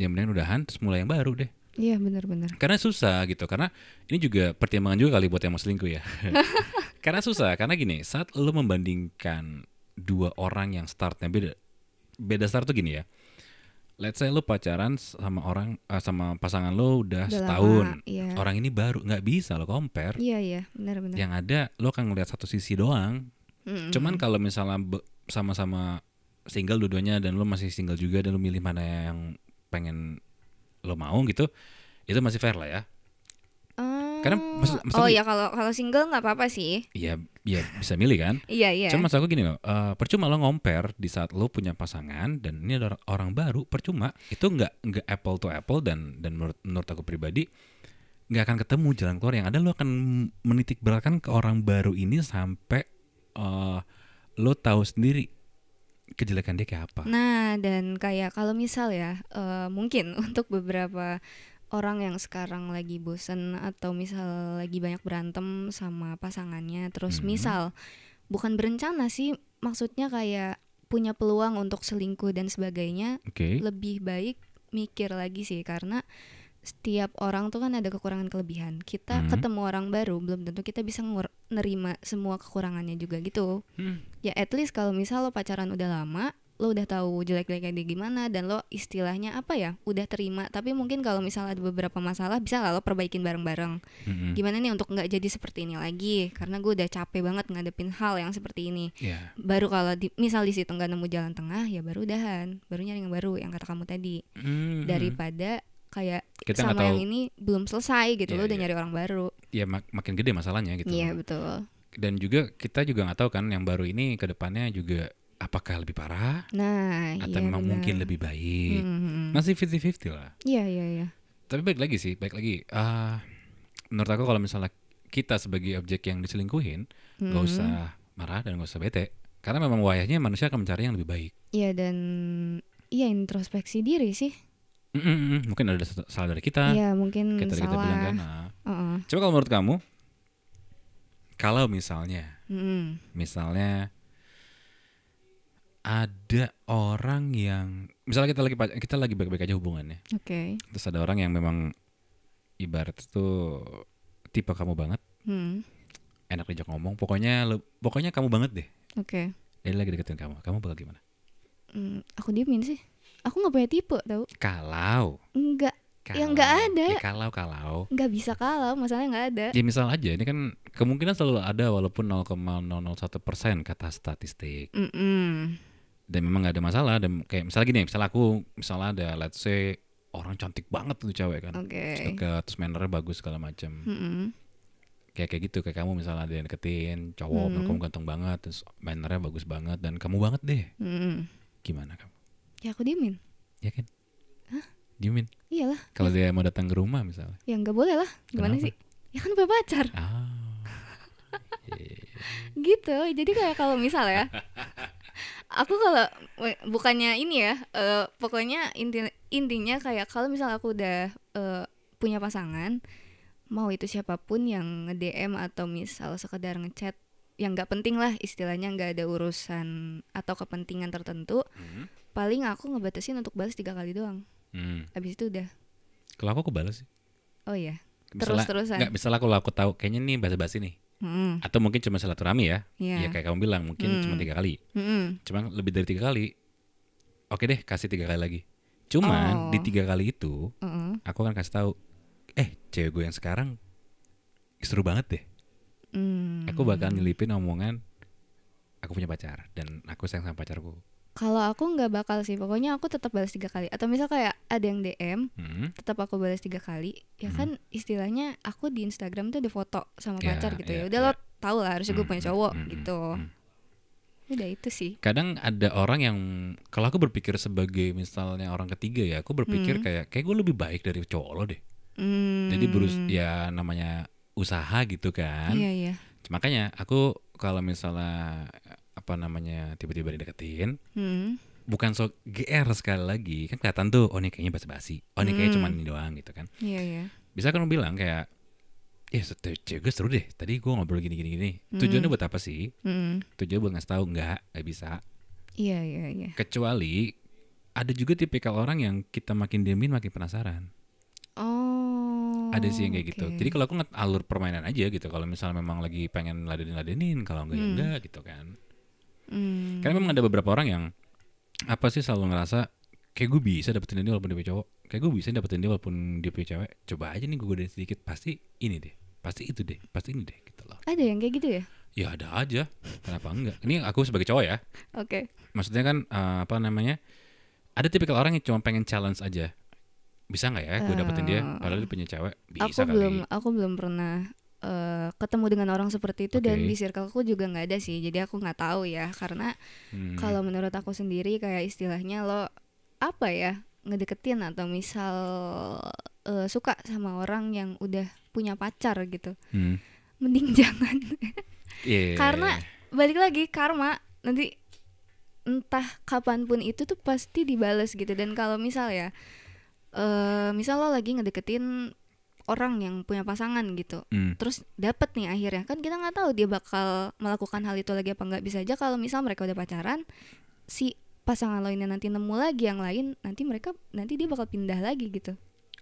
A: yang mendingan udahan terus mulai yang baru deh.
B: Iya, benar-benar.
A: Karena susah gitu. Karena ini juga pertimbangan juga kali buat yang mau selingkuh ya. karena susah. Karena gini, saat lo membandingkan dua orang yang startnya beda, beda start tuh gini ya. Let's say lo pacaran sama orang eh, sama pasangan lo udah,
B: Udah
A: setahun.
B: lama, Iya.
A: Orang ini baru nggak bisa lo compare.
B: Iya, iya, benar-benar. Mm-hmm.
A: Yang ada lo akan ngeliat satu sisi doang.
B: Mm-mm.
A: Ya. Cuman kalau misalnya be- sama-sama single dua-duanya dan lo masih single juga dan lo milih mana yang pengen lo mau gitu, itu masih fair lah ya.
B: Ah.
A: Karena maksud- maksud
B: oh
A: aku-
B: ya kalau kalau single nggak apa-apa sih.
A: Iya, iya bisa milih kan.
B: Iya iya.
A: Cuma maksud aku gini loh, eh, percuma lo ngomper di saat lo punya pasangan dan ini ada orang baru, percuma itu nggak nggak apple to apple dan dan menurut menurut aku pribadi nggak akan ketemu jalan keluar yang ada lo akan menitik beratkan ke orang baru ini sampai eh, lo tahu sendiri kejelekan dia kayak apa.
B: Nah dan kayak kalau misal ya eh, mungkin untuk beberapa orang yang sekarang lagi bosen atau misal lagi banyak berantem sama pasangannya, terus
A: Mhm.
B: misal bukan berencana sih maksudnya kayak punya peluang untuk selingkuh dan sebagainya
A: Oke.
B: lebih baik mikir lagi sih karena setiap orang tuh kan ada kekurangan kelebihan. Kita
A: Hmm.
B: ketemu orang baru belum tentu kita bisa ngur- nerima semua kekurangannya juga gitu.
A: Hmm,
B: Ya at least kalau misal lo pacaran udah lama, lo udah tahu jelek-jeleknya dia gimana dan lo istilahnya apa ya? Udah terima, tapi mungkin kalau misal ada beberapa masalah bisa lah lo perbaikin bareng-bareng.
A: hmm, hmm.
B: Gimana nih untuk nggak jadi seperti ini lagi? Karena gue udah capek banget ngadepin hal yang seperti ini
A: Iya.
B: baru kalau di, misal di situ nggak nemu jalan tengah ya baru udahan baru nyari yang baru yang kata kamu tadi
A: Hmm, hmm.
B: daripada kayak
A: kita nggak
B: sama
A: tahu
B: yang ini belum selesai gitu
A: Iya,
B: lo udah
A: iya.
B: nyari orang baru
A: ya mak- makin gede masalahnya gitu.
B: iya betul
A: Dan juga kita juga nggak tahu kan yang baru ini ke depannya juga apakah lebih parah
B: nah
A: atau
B: iya
A: memang
B: benar.
A: mungkin lebih baik
B: Mhm.
A: masih 50-50 lah
B: iya iya iya
A: tapi baik lagi sih baik lagi Ah, menurut aku kalau misalnya kita sebagai objek yang diselingkuhin nggak
B: Mm-mm.
A: usah marah dan nggak usah bete karena memang wayahnya manusia akan mencari yang lebih baik
B: Iya dan iya introspeksi diri sih.
A: Mm, mm, mm. mungkin ada sa- salah dari kita
B: Iya mungkin
A: kita Nah, kita
B: salah.
A: bilang kan ah.
B: Heeh.
A: coba kalau menurut kamu kalau misalnya
B: Mm-mm.
A: misalnya ada orang yang misalnya kita lagi pac- kita lagi baik-baik aja hubungannya
B: Oke.
A: terus ada orang yang memang ibarat tuh tipe kamu banget
B: Hmm.
A: enak diajak ngomong pokoknya lu- pokoknya kamu banget deh
B: Oke.
A: dia lagi deketin kamu kamu bakal gimana
B: Hmm, aku diemin sih. Aku nggak punya tipe tau.
A: kalau
B: Enggak,
A: kalau
B: Ya, nggak ada.
A: ya, kalau kalau
B: nggak bisa kalah. Masalahnya nggak ada.
A: ya misal aja ini kan kemungkinan selalu ada walaupun 0,001 persen kata statistik
B: Hmm, Mm-mm.
A: dan memang nggak ada masalah dan kayak misalnya gini misalnya aku misalnya ada let's say orang cantik banget tuh cewek kan
B: Oke. Hmm.
A: terus deket terus mannernya bagus segala macam
B: Mm-mm.
A: kayak kayak gitu kayak kamu misalnya ada yang deketin cowok
B: Hmm.
A: kamu ganteng banget terus mannernya bagus banget dan kamu banget deh
B: Mm-mm.
A: gimana kamu
B: hmm. Ya aku diemin.
A: ya kan Diamin
B: Iyalah,
A: kalau dia mau datang ke rumah misalnya
B: ya nggak boleh lah. Gimana
A: Kenapa?
B: sih? Ya kan punya pacar.
A: ah
B: gitu jadi kayak kalau misal ya aku kalau we- bukannya ini ya eh, pokoknya inti, intinya kayak kalau misal aku udah eh, punya pasangan mau itu siapapun yang nge DM atau misal sekedar ngechat yang nggak penting lah istilahnya nggak ada urusan atau kepentingan tertentu
A: Hmm.
B: paling aku ngebatasin untuk balas tiga kali doang
A: hmm.
B: abis itu udah
A: kalau aku aku balas sih
B: oh ya
A: Misalnya-
B: Terus-terusan.
A: nggak misalnya kalau aku tahu kayaknya nih basa-basi nih
B: Heeh.
A: atau mungkin cuma silaturahmi ya
B: Iya.
A: ya kayak kamu bilang mungkin
B: Hmm.
A: cuma tiga kali
B: Heeh.
A: cuma lebih dari tiga kali oke deh kasih tiga kali lagi cuman
B: Oh.
A: di tiga kali itu
B: Heeh.
A: aku akan kasih tahu eh cewek gue yang sekarang seru banget deh
B: Hmm.
A: aku bakal nyelipin omongan aku punya pacar dan aku sayang sama pacarku
B: kalau aku nggak bakal sih pokoknya aku tetap balas tiga kali atau misal kayak ada yang DM
A: Hmm,
B: tetap aku balas tiga kali
A: Hmm.
B: ya kan istilahnya aku di Instagram tuh ada foto sama
A: Ya,
B: pacar gitu
A: ya,
B: ya udah lo tau lah harusnya gue
A: Hmm,
B: punya
A: hmm,
B: cowok
A: hmm,
B: gitu
A: hmm.
B: udah itu sih
A: kadang ada orang yang kalau aku berpikir sebagai misalnya orang ketiga ya aku berpikir
B: Hmm.
A: kayak kayak gue lebih baik dari cowok lo deh
B: Hmm.
A: jadi berus ya namanya usaha gitu kan
B: iya iya
A: makanya aku kalau misalnya apa namanya tiba-tiba dideketin
B: Hmm.
A: bukan so GR sekali lagi kan kelihatan tuh oh ini kayaknya basa-basi oh ini kayaknya
B: Hmm.
A: cuma ini doang gitu kan
B: iya iya
A: bisa kan lu bilang kayak ya cewek gue seru deh tadi gue ngobrol gini gini gini tujuannya buat apa sih
B: Hmm.
A: tujuannya buat ngasih tahu nggak nggak bisa
B: iya iya iya
A: kecuali ada juga tipikal orang yang kita makin diemin makin penasaran
B: oh
A: ada sih yang kayak gitu
B: oke.
A: jadi kalau aku ngeliat alur permainan aja gitu kalau misalnya memang lagi pengen ladenin ladenin kalau enggak ya
B: Hmm.
A: enggak gitu kan
B: Hmm.
A: karena memang ada beberapa orang yang apa sih selalu ngerasa kayak gue bisa dapetin dia walaupun dia punya cowok kayak gue bisa dapetin dia walaupun dia punya cewek coba aja nih gue godain sedikit pasti ini deh pasti itu deh pasti ini deh gitu loh
B: ada yang kayak gitu ya
A: ya ada aja kenapa enggak ini aku sebagai cowok ya
B: oke
A: maksudnya kan eh, apa namanya ada tipikal orang yang cuma pengen challenge aja bisa nggak ya gue dapetin dia
B: Eh,
A: padahal dia punya cewek bisa
B: aku
A: kali
B: belum aku belum pernah eh, ketemu dengan orang seperti itu dan
A: Oke.
B: di circle aku juga nggak ada sih jadi aku nggak tahu ya karena
A: Hmm.
B: kalau menurut aku sendiri kayak istilahnya lo apa ya ngedeketin atau misal eh, suka sama orang yang udah punya pacar gitu
A: Hmm.
B: mending jangan
A: Iya.
B: Karena- balik lagi karma nanti entah kapanpun itu tuh pasti dibales gitu dan kalau misal ya eh misal lo lagi ngedeketin orang yang punya pasangan gitu
A: Hmm.
B: terus dapet nih akhirnya kan kita nggak tahu dia bakal melakukan hal itu lagi apa nggak bisa aja kalau misal mereka udah pacaran si pasangan lo ini nanti nemu lagi yang lain nanti mereka nanti dia bakal pindah lagi gitu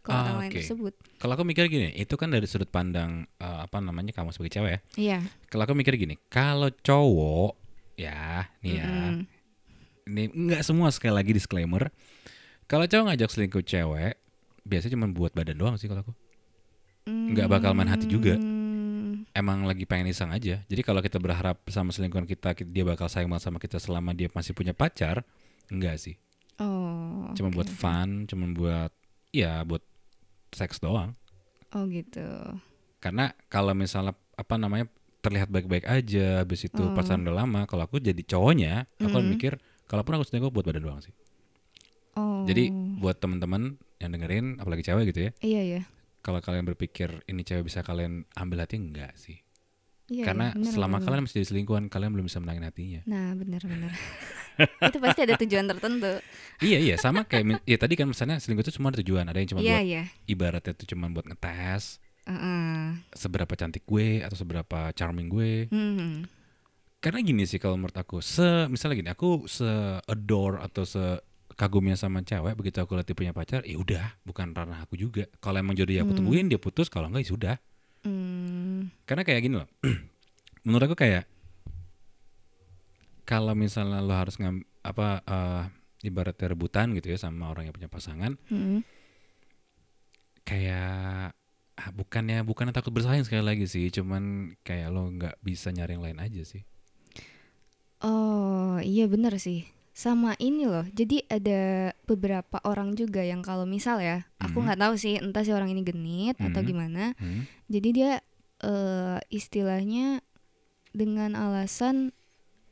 B: ke
A: Ah,
B: orang lain
A: oke.
B: tersebut
A: kalau aku mikir gini itu kan dari sudut pandang eh, apa namanya kamu sebagai cewek ya
B: iya
A: kalau aku mikir gini kalau cowok ya nih ya
B: Mm-mm.
A: ini nggak semua sekali lagi disclaimer kalau cowok ngajak selingkuh cewek biasanya cuma buat badan doang sih kalau aku Nggak bakal main hati juga.
B: Hmm,
A: emang lagi pengen iseng aja. Jadi kalau kita berharap sama selingkuhan kita ki- dia bakal sayang banget sama kita selama dia masih punya pacar, enggak sih.
B: oh
A: Cuma
B: oke.
A: buat fun, cuma buat ya buat seks doang.
B: oh gitu
A: Karena kalau misalnya apa namanya terlihat baik-baik aja habis itu
B: Oh.
A: pacaran udah lama, kalau aku jadi cowoknya, aku akan
B: Mm.
A: mikir kalaupun aku selingkuh buat badan doang sih.
B: oh
A: Jadi buat teman-teman yang dengerin apalagi cewek gitu ya,
B: iya ya
A: kalau kalian berpikir ini cewek bisa kalian ambil hati enggak sih?
B: Iya,
A: Karena
B: iya, bener,
A: selama
B: bener,
A: kalian masih jadi selingkuhan, kalian belum bisa menangin hatinya.
B: bener. Nah, benar-benar. itu pasti ada tujuan tertentu.
A: iya, iya, sama kayak min- ya tadi kan misalnya selingkuh itu semua ada tujuan, ada yang cuma
B: Iya,
A: buat
B: iya.
A: ibaratnya itu cuma buat ngetes
B: Heeh.
A: seberapa cantik gue atau seberapa charming gue.
B: Hmm.
A: Karena gini sih kalau menurut aku, se misalnya gini, aku se adore atau se kagumnya sama cewek begitu aku lihat dia punya pacar, ya udah, bukan ranah aku juga. Kalau emang jodoh ya aku
B: Hmm.
A: tungguin dia putus, kalau enggak ya sudah.
B: Hmm.
A: Karena kayak gini loh. menurut aku kayak kalau misalnya lo harus ngam apa eh, ibaratnya rebutan gitu ya sama orang yang punya pasangan,
B: Hmm.
A: kayak ah, bukannya bukan takut bersaing sekali lagi sih, cuman kayak lo nggak bisa nyari yang lain aja sih.
B: Oh iya bener sih sama ini loh jadi ada beberapa orang juga yang kalau misal ya
A: Mhm.
B: aku nggak tahu sih entah si orang ini genit atau
A: Mhm.
B: gimana
A: Hmm.
B: jadi dia eh, istilahnya dengan alasan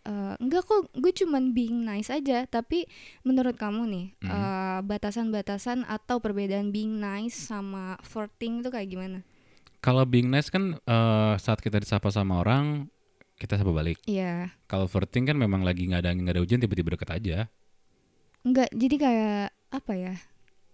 B: eh, enggak kok gue cuman being nice aja tapi menurut kamu nih
A: Mhm.
B: eh, batasan-batasan atau perbedaan being nice sama flirting itu kayak gimana
A: Kalau being nice kan eh, saat kita disapa sama orang kita sapa balik.
B: Iya
A: Kalau flirting kan memang lagi nggak ada angin, nggak ada hujan tiba-tiba deket aja.
B: enggak jadi kayak apa ya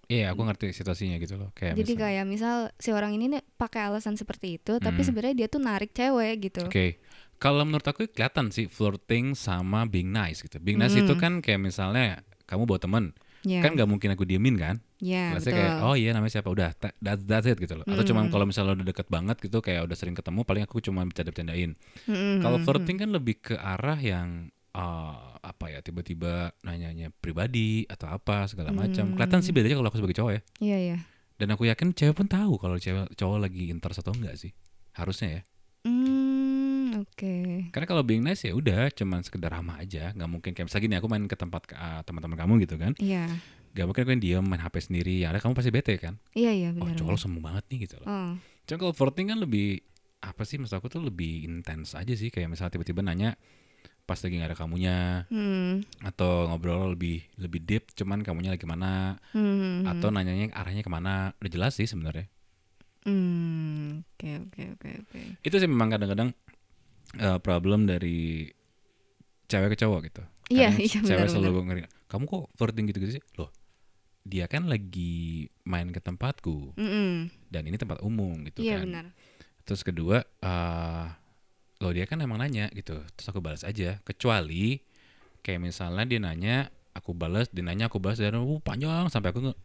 A: Iya, aku ngerti situasinya gitu loh. Kayak
B: Hmm. Jadi
A: misalnya-
B: kayak misal si orang ini nih pakai alasan seperti itu, tapi
A: Hmm.
B: sebenarnya dia tuh narik cewek gitu.
A: Oke. Kalau menurut aku kelihatan sih flirting sama being nice gitu. Being nice
B: Hmm.
A: itu kan kayak misalnya kamu bawa temen,
B: Ya,
A: kan nggak mungkin aku diemin kan?
B: ya,
A: Biasanya
B: betul.
A: kayak oh iya namanya siapa udah ta- that's, that's it gitu loh. Atau cuman
B: Hmm.
A: kalau misalnya udah deket banget gitu kayak udah sering ketemu paling aku cuma bercanda-bercandain.
B: Mm-mm,
A: "Oh, Kalau
B: mm-mm.
A: flirting kan lebih ke arah yang eh, apa ya tiba-tiba nanyanya pribadi atau apa segala macam.
B: Hmm.
A: Kelihatan sih bedanya kalau aku sebagai cowok ya.
B: Iya ya.
A: Dan aku yakin cewek pun tahu kalau cewek cowok lagi interest atau enggak sih. Harusnya ya.
B: Hmm, oke.
A: Karena kalau being nice ya udah cuman sekedar ramah aja, nggak mungkin kayak misalnya gini aku main ke tempat ke- ah, teman-teman kamu gitu kan,
B: Iya.
A: nggak mungkin aku yang diem main HP sendiri, ya ada kamu pasti bete kan,
B: Iya iya
A: oh
B: benar.
A: cowok lo semu banget nih gitu loh.
B: Oh.
A: Cuma kalau flirting kan lebih apa sih maksud aku tuh lebih intens aja sih kayak misalnya tiba-tiba nanya pas lagi nggak ada kamunya
B: Hmm.
A: atau ngobrol lebih lebih deep cuman kamunya lagi mana
B: Hmm.
A: atau nanyanya arahnya kemana udah jelas sih sebenarnya
B: Hmm. Oke oke oke oke.
A: itu sih memang kadang-kadang eh, problem dari cewek ke cowok gitu
B: Iya,
A: Kadang
B: iya,
A: cewek
B: benar,
A: selalu ngeri kamu kok flirting gitu-gitu sih loh dia kan lagi main ke tempatku
B: Mm-mm.
A: dan ini tempat umum gitu
B: Iya
A: kan
B: benar.
A: terus kedua eh loh dia kan emang nanya gitu terus aku balas aja kecuali kayak misalnya dia nanya aku balas dia nanya aku balas dan uh, panjang sampai aku nge-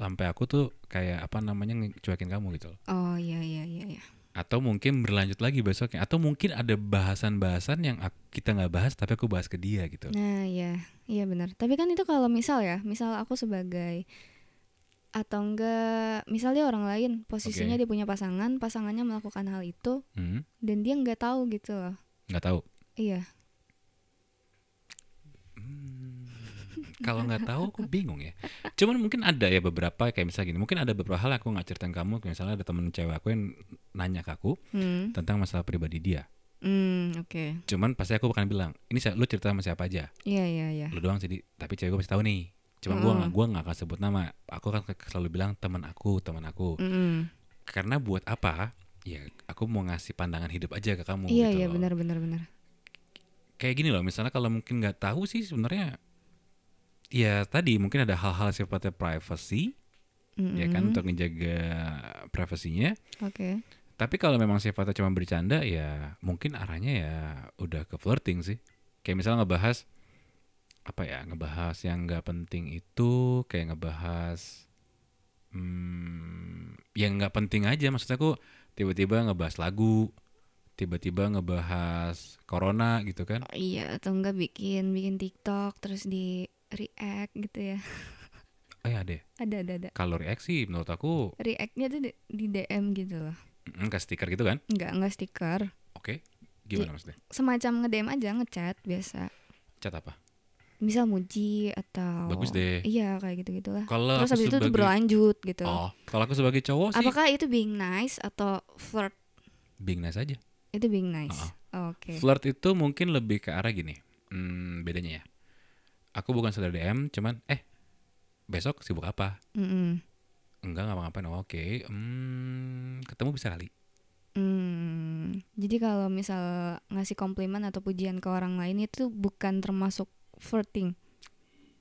A: sampai aku tuh kayak apa namanya ngecuekin kamu gitu loh
B: Oh iya iya iya iya.
A: atau mungkin berlanjut lagi besoknya atau mungkin ada bahasan-bahasan yang ak- kita nggak bahas tapi aku bahas ke dia gitu
B: Nah, ya, iya benar. Tapi kan itu kalau misal ya, misal aku sebagai atau enggak, misalnya orang lain posisinya
A: Oke.
B: dia punya pasangan, pasangannya melakukan hal itu
A: Hmm,
B: dan dia nggak tahu gitu loh.
A: nggak tahu
B: Iya.
A: kalau nggak tahu aku bingung ya cuman mungkin ada ya beberapa kayak misalnya gini mungkin ada beberapa hal aku nggak ceritain kamu kayak misalnya ada temen cewek aku yang nanya ke aku
B: Hmm.
A: tentang masalah pribadi dia
B: Hmm, oke.
A: cuman pasti aku bukan bilang ini saya- lu cerita sama siapa aja
B: Iya, iya, iya.
A: lu doang sih Di. tapi cewek gue pasti tahu nih cuman gua
B: Oh.
A: nggak gua nggak akan sebut nama aku kan selalu bilang teman aku teman aku
B: Mm-mm.
A: karena buat apa ya aku mau ngasih pandangan hidup aja ke kamu
B: Iya,
A: gitu
B: iya,
A: loh.
B: benar benar benar.
A: kayak gini loh misalnya kalau mungkin nggak tahu sih sebenarnya ya tadi mungkin ada hal-hal sifatnya privacy ya kan
B: Mm-mm.
A: untuk menjaga privasinya
B: Oke.
A: tapi kalau memang sifatnya cuma bercanda ya mungkin arahnya ya udah ke flirting sih kayak misalnya ngebahas apa ya ngebahas yang nggak penting itu kayak ngebahas hmm, yang nggak penting aja maksudnya aku tiba-tiba ngebahas lagu tiba-tiba ngebahas corona gitu kan
B: Oh, iya, atau enggak bikin bikin TikTok terus di react gitu ya.
A: eh ada ya?
B: Ada, ada, ada.
A: kalau reaksi menurut aku
B: Reactnya tuh di, di DM gitu loh.
A: mm, kayak stiker gitu kan
B: Enggak, enggak stiker.
A: oke
B: Iya.
A: gimana maksudnya
B: Semacam nge-DM aja, ngechat biasa.
A: cat apa
B: misal muji atau
A: Bagus deh.
B: iya kayak gitu gitulah
A: kalau
B: terus
A: aku
B: habis itu tuh
A: sebagai-
B: berlanjut gitu
A: oh kalau aku sebagai cowok sih
B: apakah itu being nice atau flirt
A: being nice aja
B: itu being nice oke
A: Flirt itu mungkin lebih ke arah gini. Hmm, bedanya ya. Aku bukan saudara DM, cuman eh besok sibuk apa?
B: Mm-mm.
A: enggak ngapa-ngapain oh, oke hmm, ketemu bisa kali
B: Hmm, jadi kalau misal ngasih komplimen atau pujian ke orang lain itu bukan termasuk flirting.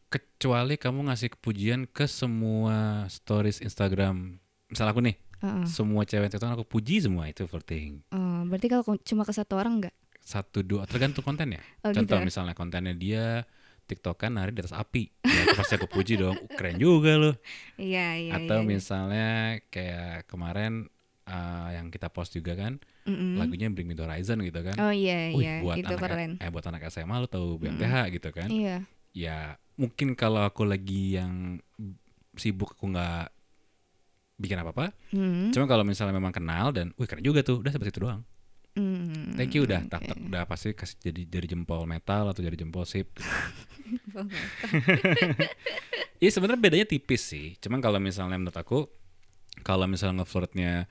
A: kecuali kamu ngasih pujian ke semua stories Instagram misal aku nih
B: Heeh.
A: semua cewek itu aku puji semua itu flirting
B: Oh, berarti kalau ko- cuma ke satu orang enggak?
A: satu dua tergantung kontennya
B: Oh, gitu.
A: contoh misalnya kontennya dia tiktokan nari di atas api ya, itu pasti aku puji dong keren juga loh
B: Iya, iya.
A: atau
B: iya, iya.
A: misalnya kayak kemarin eh, yang kita post juga kan
B: Mm-mm.
A: lagunya Bring Me The Horizon gitu kan
B: Hmm. Oh iya,
A: Wih,
B: iya.
A: buat
B: itu
A: anak
B: keren. Hmm.
A: eh buat anak SMA lo tau BMTH gitu kan
B: Iya.
A: ya mungkin kalau aku lagi yang sibuk aku nggak bikin apa-apa
B: Mm,
A: cuma kalau misalnya memang kenal dan wih keren juga tuh udah seperti itu doang
B: mm,
A: thank you udah
B: oke.
A: tak, tak, udah pasti kasih jadi dari jempol metal atau dari jempol sip Iya sebenarnya bedanya tipis sih. Cuman kalau misalnya menurut aku kalau misalnya ngeflirtnya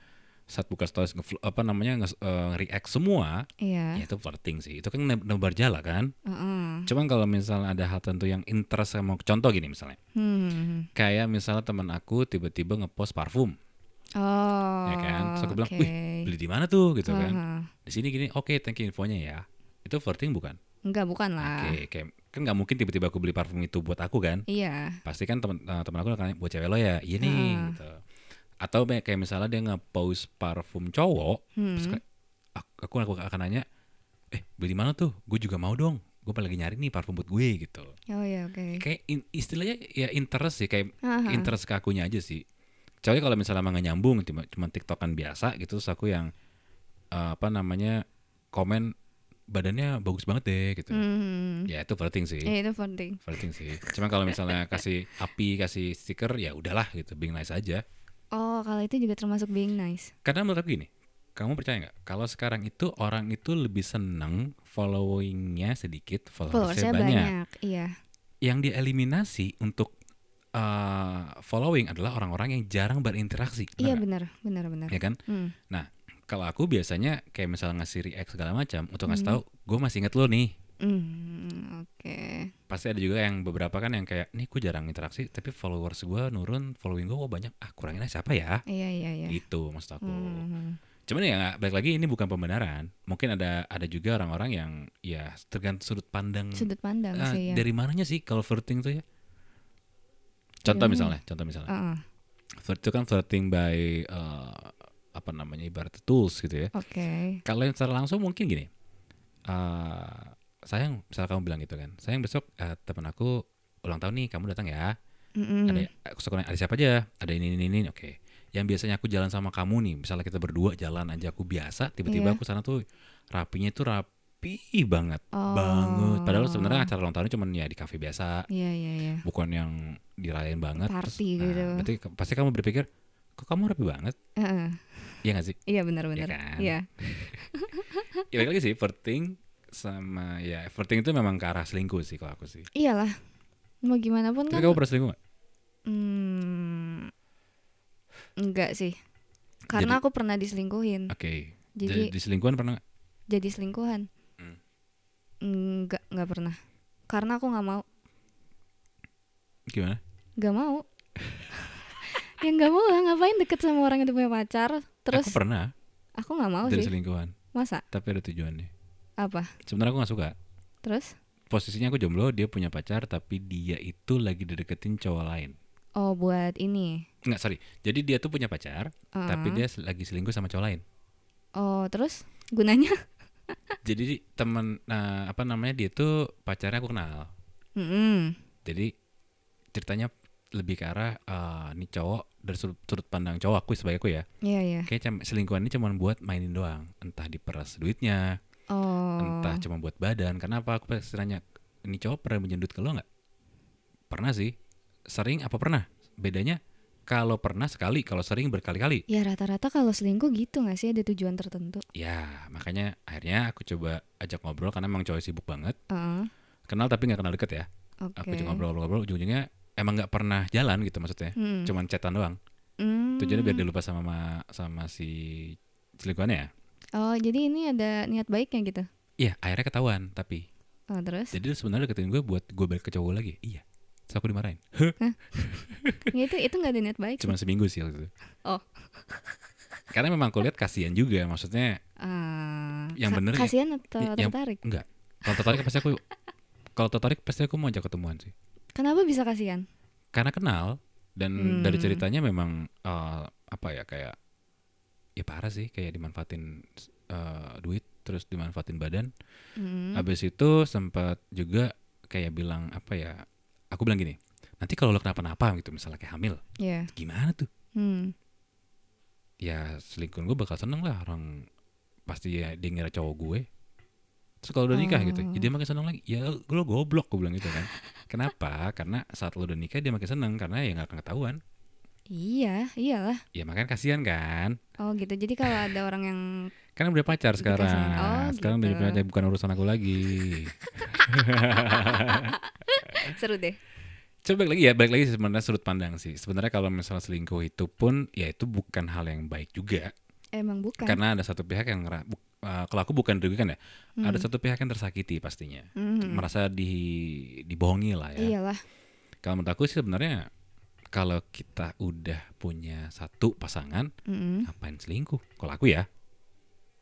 A: saat buka stories ngefl- apa namanya nge eh, react semua, ya
B: Iya.
A: itu flirting sih. Itu kan ne- nebar jala kan.
B: Heeh.
A: Cuman kalau misalnya ada hal tentu yang interest sama contoh gini misalnya.
B: Hmm.
A: Kayak misalnya teman aku tiba-tiba ngepost parfum,
B: Oh.
A: ya kan? Terus aku bilang,
B: oke.
A: "Wih, beli di mana tuh?" gitu kan.
B: Heeh.
A: Di sini gini, "Oke, thank you infonya ya." Itu flirting bukan?
B: Enggak, bukan
A: Oke,
B: lah.
A: kayak kan nggak mungkin tiba-tiba aku beli parfum itu buat aku kan?
B: Iya.
A: pasti kan teman eh, teman aku nanya buat cewek lo ya iya nih
B: Heeh.
A: gitu atau kayak kayak misalnya dia nge-post parfum cowok terus
B: Hmm.
A: kayak, ak- aku, aku akan nanya eh beli di mana tuh gue juga mau dong gue lagi nyari nih parfum buat gue gitu
B: Oh iya, oke.
A: kayak in- istilahnya ya interest sih kayak
B: Aha.
A: interest ke akunya aja sih kecuali kalau misalnya emang nggak nyambung cuma cuma tiktokan biasa gitu terus aku yang eh, apa namanya komen badannya bagus banget deh gitu
B: Hmm.
A: ya itu flirting sih
B: Iya, itu penting.
A: flirting sih. Cuma kalau misalnya kasih api, kasih stiker ya udahlah gitu, being nice aja.
B: Oh, kalau itu juga termasuk being nice.
A: Karena menurut aku gini, kamu percaya nggak? Kalau sekarang itu orang itu lebih seneng followingnya sedikit, followersnya
B: Followersnya
A: banyak.
B: banyak. Iya.
A: Yang dieliminasi untuk eh, following adalah orang-orang yang jarang berinteraksi.
B: Iya,
A: bener nggak?
B: benar, benar, benar.
A: Ya kan?
B: Hmm.
A: Kalau aku biasanya kayak misalnya ngasih react segala macam untuk ngasih
B: Hmm.
A: tahu, gue masih inget lo nih.
B: Hmm, oke.
A: Pasti ada juga yang beberapa kan yang kayak, nih gue jarang interaksi, tapi followers gue nurun, following gue oh, banyak. Ah kurangin aja siapa ya?
B: Iya, iya, iya.
A: gitu maksud aku.
B: Hmm.
A: Cuman ya nggak- balik lagi ini bukan pembenaran. Mungkin ada ada juga orang-orang yang ya tergantung sudut pandang
B: Sudut pandang
A: eh,
B: sih ya.
A: dari mananya sih kalau flirting tuh ya. Contoh
B: Dari mana?
A: misalnya, contoh misalnya.
B: Heeh,
A: Flirt itu kan flirting by eh, apa namanya ibarat tools gitu ya.
B: Oke.
A: Kalau yang secara langsung mungkin gini. eh sayang, misal kamu bilang gitu kan. Sayang besok eh, teman aku ulang tahun nih, kamu datang ya.
B: Mm-mm.
A: ada aku suka nanya, ada siapa aja ada ini ini ini oke yang biasanya aku jalan sama kamu nih misalnya kita berdua jalan aja aku biasa tiba-tiba
B: Iya.
A: aku sana tuh rapinya tuh rapi banget
B: Oh.
A: banget padahal sebenarnya acara ulang tahunnya cuma ya di kafe biasa
B: Iya, iya, iya.
A: bukan yang dirayain banget Terus, nah,
B: Party gitu.
A: berarti ke- pasti kamu berpikir kok kamu rapi banget
B: Heeh.
A: Iya gak sih
B: Iya, benar-benar.
A: Iya kan?
B: Iya. Nah.
A: ya balik lagi sih flirting sama ya flirting itu memang ke arah selingkuh sih kalau aku sih
B: Iyalah. Mau gimana pun
A: tapi
B: kan.
A: kamu pernah selingkuh gak?
B: Hmm, enggak sih. Karena aku pernah diselingkuhin.
A: oke Ah, jadi
B: Jadi
A: di selingkuhan pernah nggak?
B: jadi selingkuhan.
A: Hmm.
B: Enggak, enggak pernah. Karena aku nggak mau,
A: gimana
B: nggak mau. Yang nggak mau lah ngapain deket sama orang yang udah punya pacar. Terus
A: aku pernah
B: aku nggak mau
A: jadi
B: sih.
A: selingkuhan
B: Masa?
A: tapi ada tujuannya
B: Apa?
A: sebenarnya aku nggak suka
B: Terus?
A: posisinya aku jomblo dia punya pacar tapi dia itu lagi dideketin cowok lain
B: Oh, buat ini.
A: nggak sorry jadi dia tuh punya pacar tapi
B: Heeh.
A: dia sel- lagi selingkuh sama cowok lain
B: Oh, terus gunanya?
A: jadi teman nah, apa namanya dia tuh pacarnya aku kenal
B: Mm-mm.
A: jadi ceritanya lebih ke arah eh, nih cowok dari sudut, sudut pandang cowok aku sebagai aku ya
B: Iya, iya.
A: kayak cam- selingkuhan ini cuma buat mainin doang entah diperas duitnya
B: Oh.
A: entah cuma buat badan kenapa aku pasti nanya ini cowok pernah menyendut ke lo nggak pernah sih sering apa pernah bedanya kalau pernah sekali kalau sering berkali-kali
B: Ya rata-rata kalau selingkuh gitu nggak sih ada tujuan tertentu?
A: ya makanya akhirnya aku coba ajak ngobrol karena emang cowok sibuk banget
B: Heeh.
A: kenal tapi nggak kenal deket ya
B: Oke.
A: aku coba ngobrol-ngobrol ujung-ujungnya emang nggak pernah jalan gitu maksudnya
B: Hmm.
A: cuman chatan doang
B: Hmm.
A: tujuannya biar dia lupa sama ma- sama si selingkuhannya ya
B: Oh, jadi ini ada niat baiknya gitu.
A: iya akhirnya ketahuan tapi
B: Oh, terus?
A: jadi dia sebenarnya deketin gue buat gue balik ke cowok lagi iya Terus aku dimarahin.
B: Ya, itu itu nggak ada niat baik.
A: Cuma seminggu sih waktu itu.
B: Oh.
A: Karena memang aku lihat kasihan juga. Maksudnya
B: Ah,
A: yang
B: ka-
A: bener ya-
B: kasihan atau
A: ya- yang-
B: tertarik?
A: enggak. Kalau tertarik pasti aku kalau tertarik pasti aku mau ajak ketemuan sih.
B: Kenapa bisa kasihan?
A: Karena kenal dan
B: Hmm.
A: dari ceritanya memang eh, apa ya kayak ya parah sih kayak dimanfaatin eh, duit terus dimanfaatin badan.
B: Hmm.
A: Habis itu sempat juga kayak bilang apa ya? Aku bilang gini, nanti kalau lo kenapa-napa gitu misalnya kayak hamil,
B: Ya.
A: gimana tuh?
B: Hmm.
A: ya selingkuh gue bakal seneng lah orang pasti ya dia ngira cowok gue terus kalau udah nikah gitu ya dia makin seneng lagi ya lo goblok gue bilang gitu kan kenapa karena saat lo udah nikah dia makin seneng karena ya nggak akan ketahuan
B: Iya, iyalah.
A: ya makan kasihan kan
B: Oh gitu. Jadi kalau ada orang yang
A: kan udah pacar
B: Udah pacaran.
A: sekarang
B: Oh,
A: sekarang udah
B: gitu.
A: pacar bukan urusan aku lagi
B: seru deh.
A: coba balik lagi ya balik lagi sih sebenarnya sudut pandang sih sebenarnya kalau misalnya selingkuh itu pun ya itu bukan hal yang baik juga
B: Emang bukan.
A: karena ada satu pihak yang ngera- bu- eh, kalau aku bukan dirugikan ya ada satu pihak yang tersakiti pastinya
B: Hmm.
A: merasa di dibohongi lah ya.
B: Iyalah.
A: Kalau menurut aku sih sebenarnya kalau kita udah punya satu pasangan,
B: Mm-mm.
A: ngapain selingkuh? Kalau aku ya,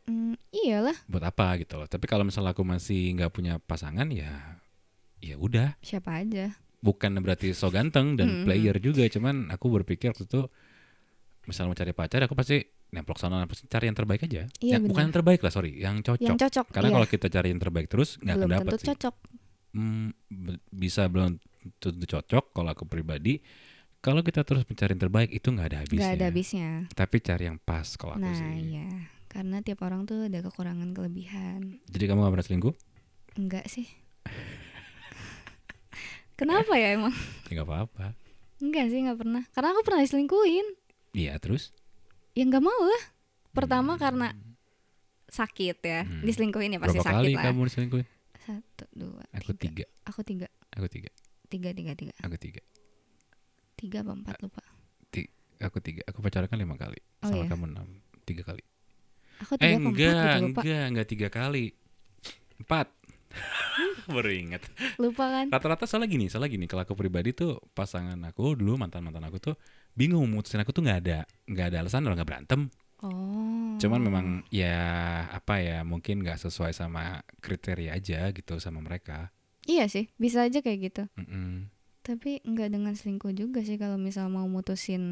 B: Mm, iyalah.
A: buat apa gitu loh. Tapi kalau misalnya aku masih nggak punya pasangan ya ya udah,
B: Siapa aja.
A: bukan berarti so ganteng dan
B: Mm.
A: player juga, cuman aku berpikir waktu itu misalnya mau cari pacar aku pasti nemplok sana pasti cari yang terbaik aja.
B: Iya,
A: Yang- bukan
B: benar.
A: yang terbaik lah, sorry, yang cocok.
B: Yang cocok.
A: Karena
B: iya.
A: kalau kita cari yang terbaik terus nggak akan
B: belum
A: dapat
B: tentu
A: sih.
B: cocok.
A: Hmm, be- bisa belum tentu cocok kalau aku pribadi kalau kita terus mencari yang terbaik itu nggak ada habisnya
B: Gak ada habisnya.
A: tapi cari yang pas kalau aku
B: Nah,
A: sih
B: iya. Karena tiap orang tuh ada kekurangan kelebihan.
A: jadi kamu nggak pernah selingkuh
B: Enggak sih. Kenapa ya emang?
A: ya nggak apa-apa
B: Enggak sih, nggak pernah. Karena aku pernah diselingkuhin.
A: iya terus
B: Ya nggak mau lah. Pertama karena sakit ya.
A: Hmm.
B: Diselingkuhin ya pasti
A: berapa
B: sakit
A: kali
B: lah.
A: kamu diselingkuhin
B: Satu, dua,
A: aku tiga
B: tiga. Aku tiga.
A: aku tiga
B: Tiga, tiga, tiga.
A: aku tiga
B: Tiga apa
A: Eh,
B: empat lupa.
A: aku tiga aku pacaran kan lima kali
B: Oh,
A: sama
B: iya.
A: kamu enam tiga kali
B: Aku
A: eh
B: tiga apa empat
A: enggak
B: gitu lupa.
A: enggak enggak tiga kali empat baru ingat
B: Lupa kan?
A: rata-rata salah gini salah gini kalau aku pribadi tuh pasangan aku dulu mantan mantan aku tuh bingung mutusin aku tuh nggak ada nggak ada alasan kalau nggak berantem
B: Oh.
A: cuman memang ya apa ya mungkin nggak sesuai sama kriteria aja gitu sama mereka
B: Iya sih, bisa aja kayak gitu.
A: Mm-mm.
B: Tapi nggak dengan selingkuh juga sih kalau misal mau mutusin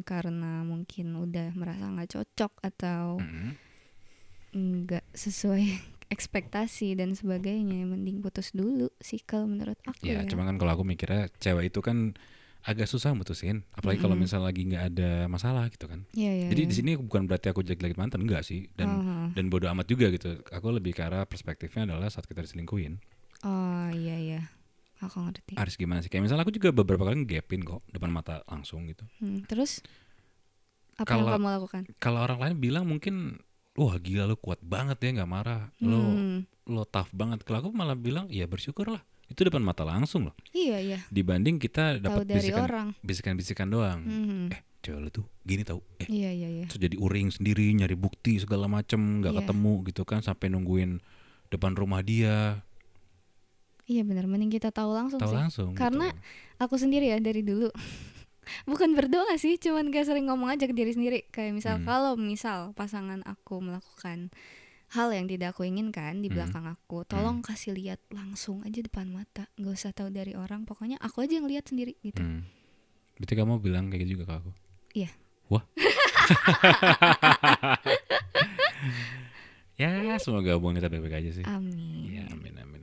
B: karena mungkin udah merasa nggak cocok atau
A: Mm-mm. Hmm.
B: nggak sesuai ekspektasi dan sebagainya. ya Mending putus dulu sih kalau menurut aku
A: ya
B: ya.
A: cuman kan kalau aku mikirnya cewek itu kan agak susah mutusin apalagi kalau
B: Mm-mm.
A: misalnya lagi nggak ada masalah gitu kan
B: Iya, iya,
A: jadi
B: iya.
A: di sini bukan berarti aku jelek jelekin mantan enggak sih dan
B: Oh,
A: dan bodoh amat juga gitu aku lebih ke arah perspektifnya adalah saat kita diselingkuhin
B: oh, iya iya. Aku ngerti.
A: harus gimana sih? Kayak misalnya aku juga beberapa kali ngegapin kok depan mata langsung gitu.
B: Hmm, terus apa
A: Kalau-
B: yang kamu lakukan?
A: Kalau orang lain bilang mungkin wah gila lu kuat banget ya nggak marah. Lo
B: Hmm,
A: lo tough banget. Kalau aku malah bilang ya bersyukur lah. Itu depan mata langsung loh.
B: iya iya.
A: Dibanding kita
B: Tahu
A: dapat
B: dari
A: bisikan
B: orang.
A: bisikan-bisikan doang.
B: Hmm,
A: Eh, cewek lu tuh gini tau Eh,
B: iya iya iya.
A: terus jadi uring sendiri nyari bukti segala macem nggak
B: Iya.
A: ketemu gitu kan sampai nungguin depan rumah dia.
B: Iya benar, mending kita tahu langsung
A: Tahu
B: sih.
A: langsung.
B: Karena-
A: gitu.
B: Aku sendiri ya dari dulu. Bukan berdoa sih, cuman kayak sering ngomong aja ke diri sendiri. Kayak misal
A: Hmm.
B: kalau misal pasangan aku melakukan hal yang tidak aku inginkan di
A: Hmm.
B: belakang aku, tolong kasih lihat langsung aja depan mata, nggak usah tahu dari orang. Pokoknya aku aja yang lihat sendiri gitu.
A: Hmm. Berarti kamu bilang kayak gitu juga ke aku.
B: Iya.
A: Wah. ya, semoga hubungan kita baik-baik aja sih.
B: Amin.
A: Ya, amin amin. amin.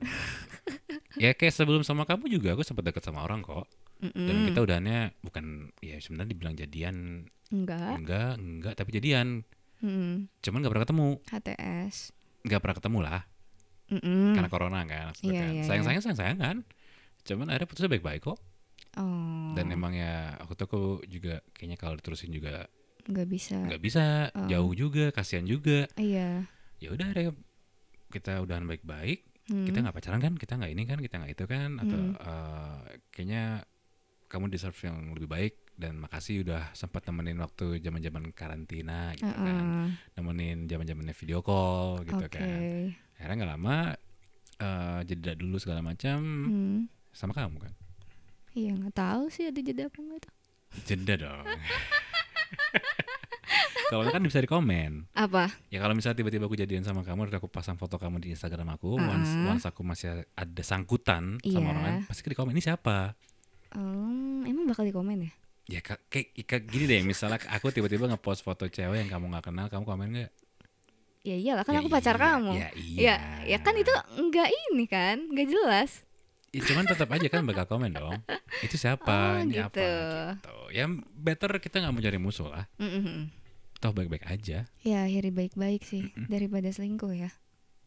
A: ya kayak sebelum sama kamu juga aku sempat deket sama orang kok.
B: Mm-mm.
A: Dan kita udahannya bukan ya sebenarnya dibilang jadian
B: Enggak.
A: enggak, enggak tapi jadian.
B: Mm-mm.
A: Cuman nggak pernah ketemu,
B: HTS.
A: nggak pernah ketemu lah
B: Mm-mm.
A: karena corona kan. maksudnya
B: Hmm. Iya,
A: kan.
B: iya,
A: Sayang-sayang sayang-sayang kan. Cuman akhirnya putusnya baik-baik kok.
B: Oh.
A: Dan emang ya aku tuh aku juga kayaknya kalau diterusin juga
B: nggak bisa.
A: nggak bisa
B: Oh.
A: jauh juga kasihan juga
B: Iya.
A: ya udah deh kita udahan baik-baik
B: Mm.
A: kita nggak pacaran kan kita nggak ini kan kita nggak itu kan atau
B: Hmm.
A: eh, kayaknya kamu deserve yang lebih baik dan makasih udah sempat nemenin waktu zaman-zaman karantina gitu kan
B: Heeh.
A: nemenin zaman-zamannya video call gitu
B: Hmm. Oke.
A: kan akhirnya nggak lama eh, jeda dulu segala macam
B: Hmm.
A: sama kamu kan
B: Iya nggak tahu sih ada jeda apa nggak tuh.
A: Jeda dong. kalau nggak kan bisa dikomen.
B: Apa?
A: Ya kalau misalnya tiba-tiba aku jadian sama kamu, terus aku pasang foto kamu di Instagram aku, once,
B: Ah.
A: once aku masih ada sangkutan sama
B: Iya.
A: orang lain, pasti dikomen ini siapa?
B: Em, emang bakal dikomen ya?
A: Ya ka- kayak, kayak gini deh, misalnya aku tiba-tiba ngepost foto cewek yang kamu nggak kenal, kamu komen nggak?
B: Ya iyalah kan
A: Ya
B: aku pacar
A: iya,
B: kamu.
A: Ya iya.
B: Ya, ya kan itu nggak ini kan, nggak jelas.
A: Ya, cuman tetap aja kan bakal komen dong. Itu siapa?
B: Oh,
A: ini apa?
B: gitu.
A: Gitu. Ya better kita nggak mau cari musuh lah.
B: Mm-mm.
A: Toh baik-baik aja.
B: Ya akhiri baik-baik sih daripada selingkuh ya.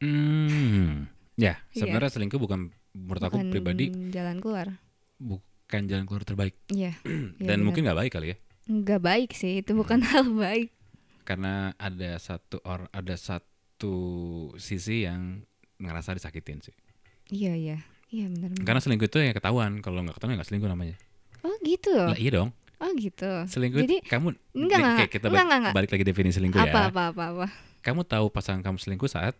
A: Hmm. Ya,
B: Iya.
A: sebenarnya selingkuh bukan menurut aku
B: Bukan
A: pribadi
B: jalan keluar.
A: bukan jalan keluar terbaik
B: Iya. Iya,
A: dan
B: benar.
A: mungkin nggak baik kali ya.
B: nggak baik sih itu bukan hal baik.
A: Karena ada satu or ada satu sisi yang ngerasa disakitin sih.
B: Iya iya iya benar. benar.
A: Karena selingkuh itu yang ketahuan, kalau nggak ketahuan ya nggak selingkuh namanya.
B: Oh gitu.
A: Lah iya dong.
B: Oh gitu.
A: Selingkuh
B: Jadi-
A: kamu
B: Enggak,
A: Nih,
B: enggak,
A: kayak kita
B: enggak,
A: balik,
B: enggak, enggak.
A: balik lagi definisi selingkuh
B: Apa
A: ya.
B: apa apa apa.
A: Kamu tahu pasangan kamu selingkuh saat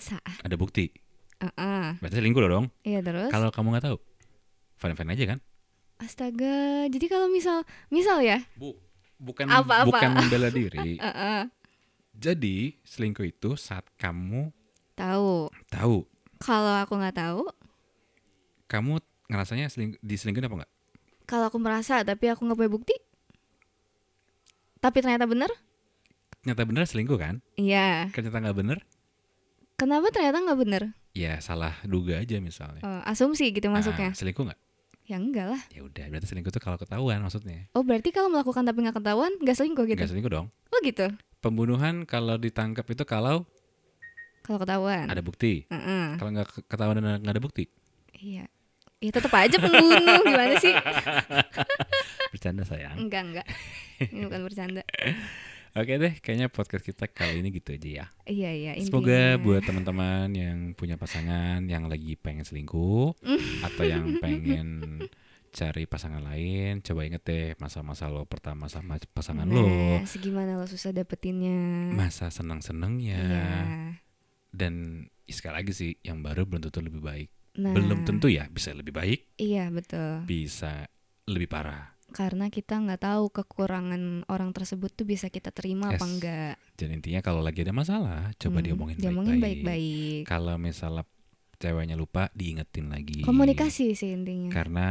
B: Saat.
A: ada bukti.
B: Ah,
A: Berarti selingkuh dong.
B: Iya terus.
A: Kalau kamu nggak tahu, fine-fine aja kan?
B: Astaga. Jadi kalau misal misal ya.
A: Bu, bukan
B: Apa, apa?
A: bukan membela diri.
B: Ah, ah.
A: Jadi selingkuh itu saat kamu
B: Tahu.
A: tahu,
B: Kalau aku nggak tahu.
A: kamu ngerasanya seling, diselingkuhin apa enggak?
B: Kalau aku merasa tapi aku nggak punya bukti. Tapi ternyata benar.
A: Ternyata bener selingkuh kan?
B: Iya.
A: Ternyata nggak bener,
B: Kenapa ternyata nggak benar?
A: ya salah duga aja misalnya.
B: Eh, asumsi gitu
A: Ah,
B: masuknya.
A: selingkuh nggak?
B: Ya enggak lah.
A: Ya udah, berarti selingkuh itu kalau ketahuan maksudnya.
B: Oh berarti kalau melakukan tapi nggak ketahuan nggak selingkuh
A: Nggak
B: gitu?
A: selingkuh dong.
B: Oh gitu.
A: Pembunuhan kalau ditangkap itu kalau
B: Kalau ketahuan.
A: ada bukti.
B: Heeh.
A: Kalau nggak ke- ketahuan dan nggak ada bukti,
B: Iya. Ya tetap aja pembunuh gimana sih?
A: bercanda sayang.
B: Enggak enggak. Ini bukan bercanda.
A: Oke deh, kayaknya podcast kita kali ini gitu aja ya.
B: Iya iya. Intinya.
A: Semoga buat teman-teman yang punya pasangan yang lagi pengen selingkuh atau yang pengen cari pasangan lain, coba inget deh masa-masa lo pertama sama pasangan
B: nah,
A: lo,
B: segimana lo susah dapetinnya?
A: masa senang-senangnya
B: Iya.
A: dan sekali lagi sih yang baru belum tentu lebih baik.
B: Nah,
A: Belum tentu ya, bisa lebih baik,
B: Iya betul.
A: bisa lebih parah.
B: Karena kita nggak tahu kekurangan orang tersebut tuh bisa kita terima apa
A: Yes.
B: enggak.
A: Dan intinya kalau lagi ada masalah, coba
B: Hmm,
A: diomongin
B: diomongin
A: baik-baik.
B: baik-baik.
A: Kalau misalnya ceweknya lupa, diingetin lagi.
B: Komunikasi sih intinya.
A: karena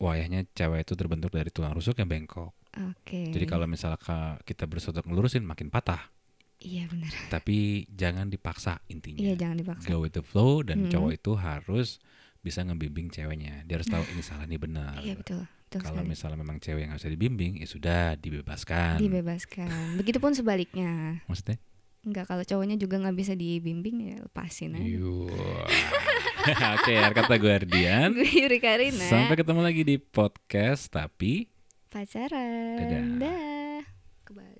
A: wayahnya cewek itu terbentuk dari tulang rusuk yang bengkok.
B: Oke.
A: Jadi kalau misalnya ka- kita bersotok ngelurusin makin patah.
B: Iya benar.
A: Tapi jangan dipaksa
B: Iya
A: intinya.
B: jangan dipaksa.
A: Go with the flow dan
B: Mm.
A: cowok itu harus bisa ngebimbing ceweknya. Dia harus tahu ini salah ini benar.
B: Iya betul. betul
A: Kalau
B: sekali.
A: misalnya memang cewek yang nggak bisa dibimbing, ya sudah dibebaskan.
B: dibebaskan. Begitupun sebaliknya.
A: Maksudnya?
B: Enggak, kalau cowoknya juga nggak bisa dibimbing ya lepasin
A: Iya.
B: aja.
A: Yuh. Oke, kata gue Ardian.
B: Gue Yuri Karina.
A: Sampai ketemu lagi di podcast tapi
B: Pacaran.
A: Dadah.
B: Dah. Kebalik.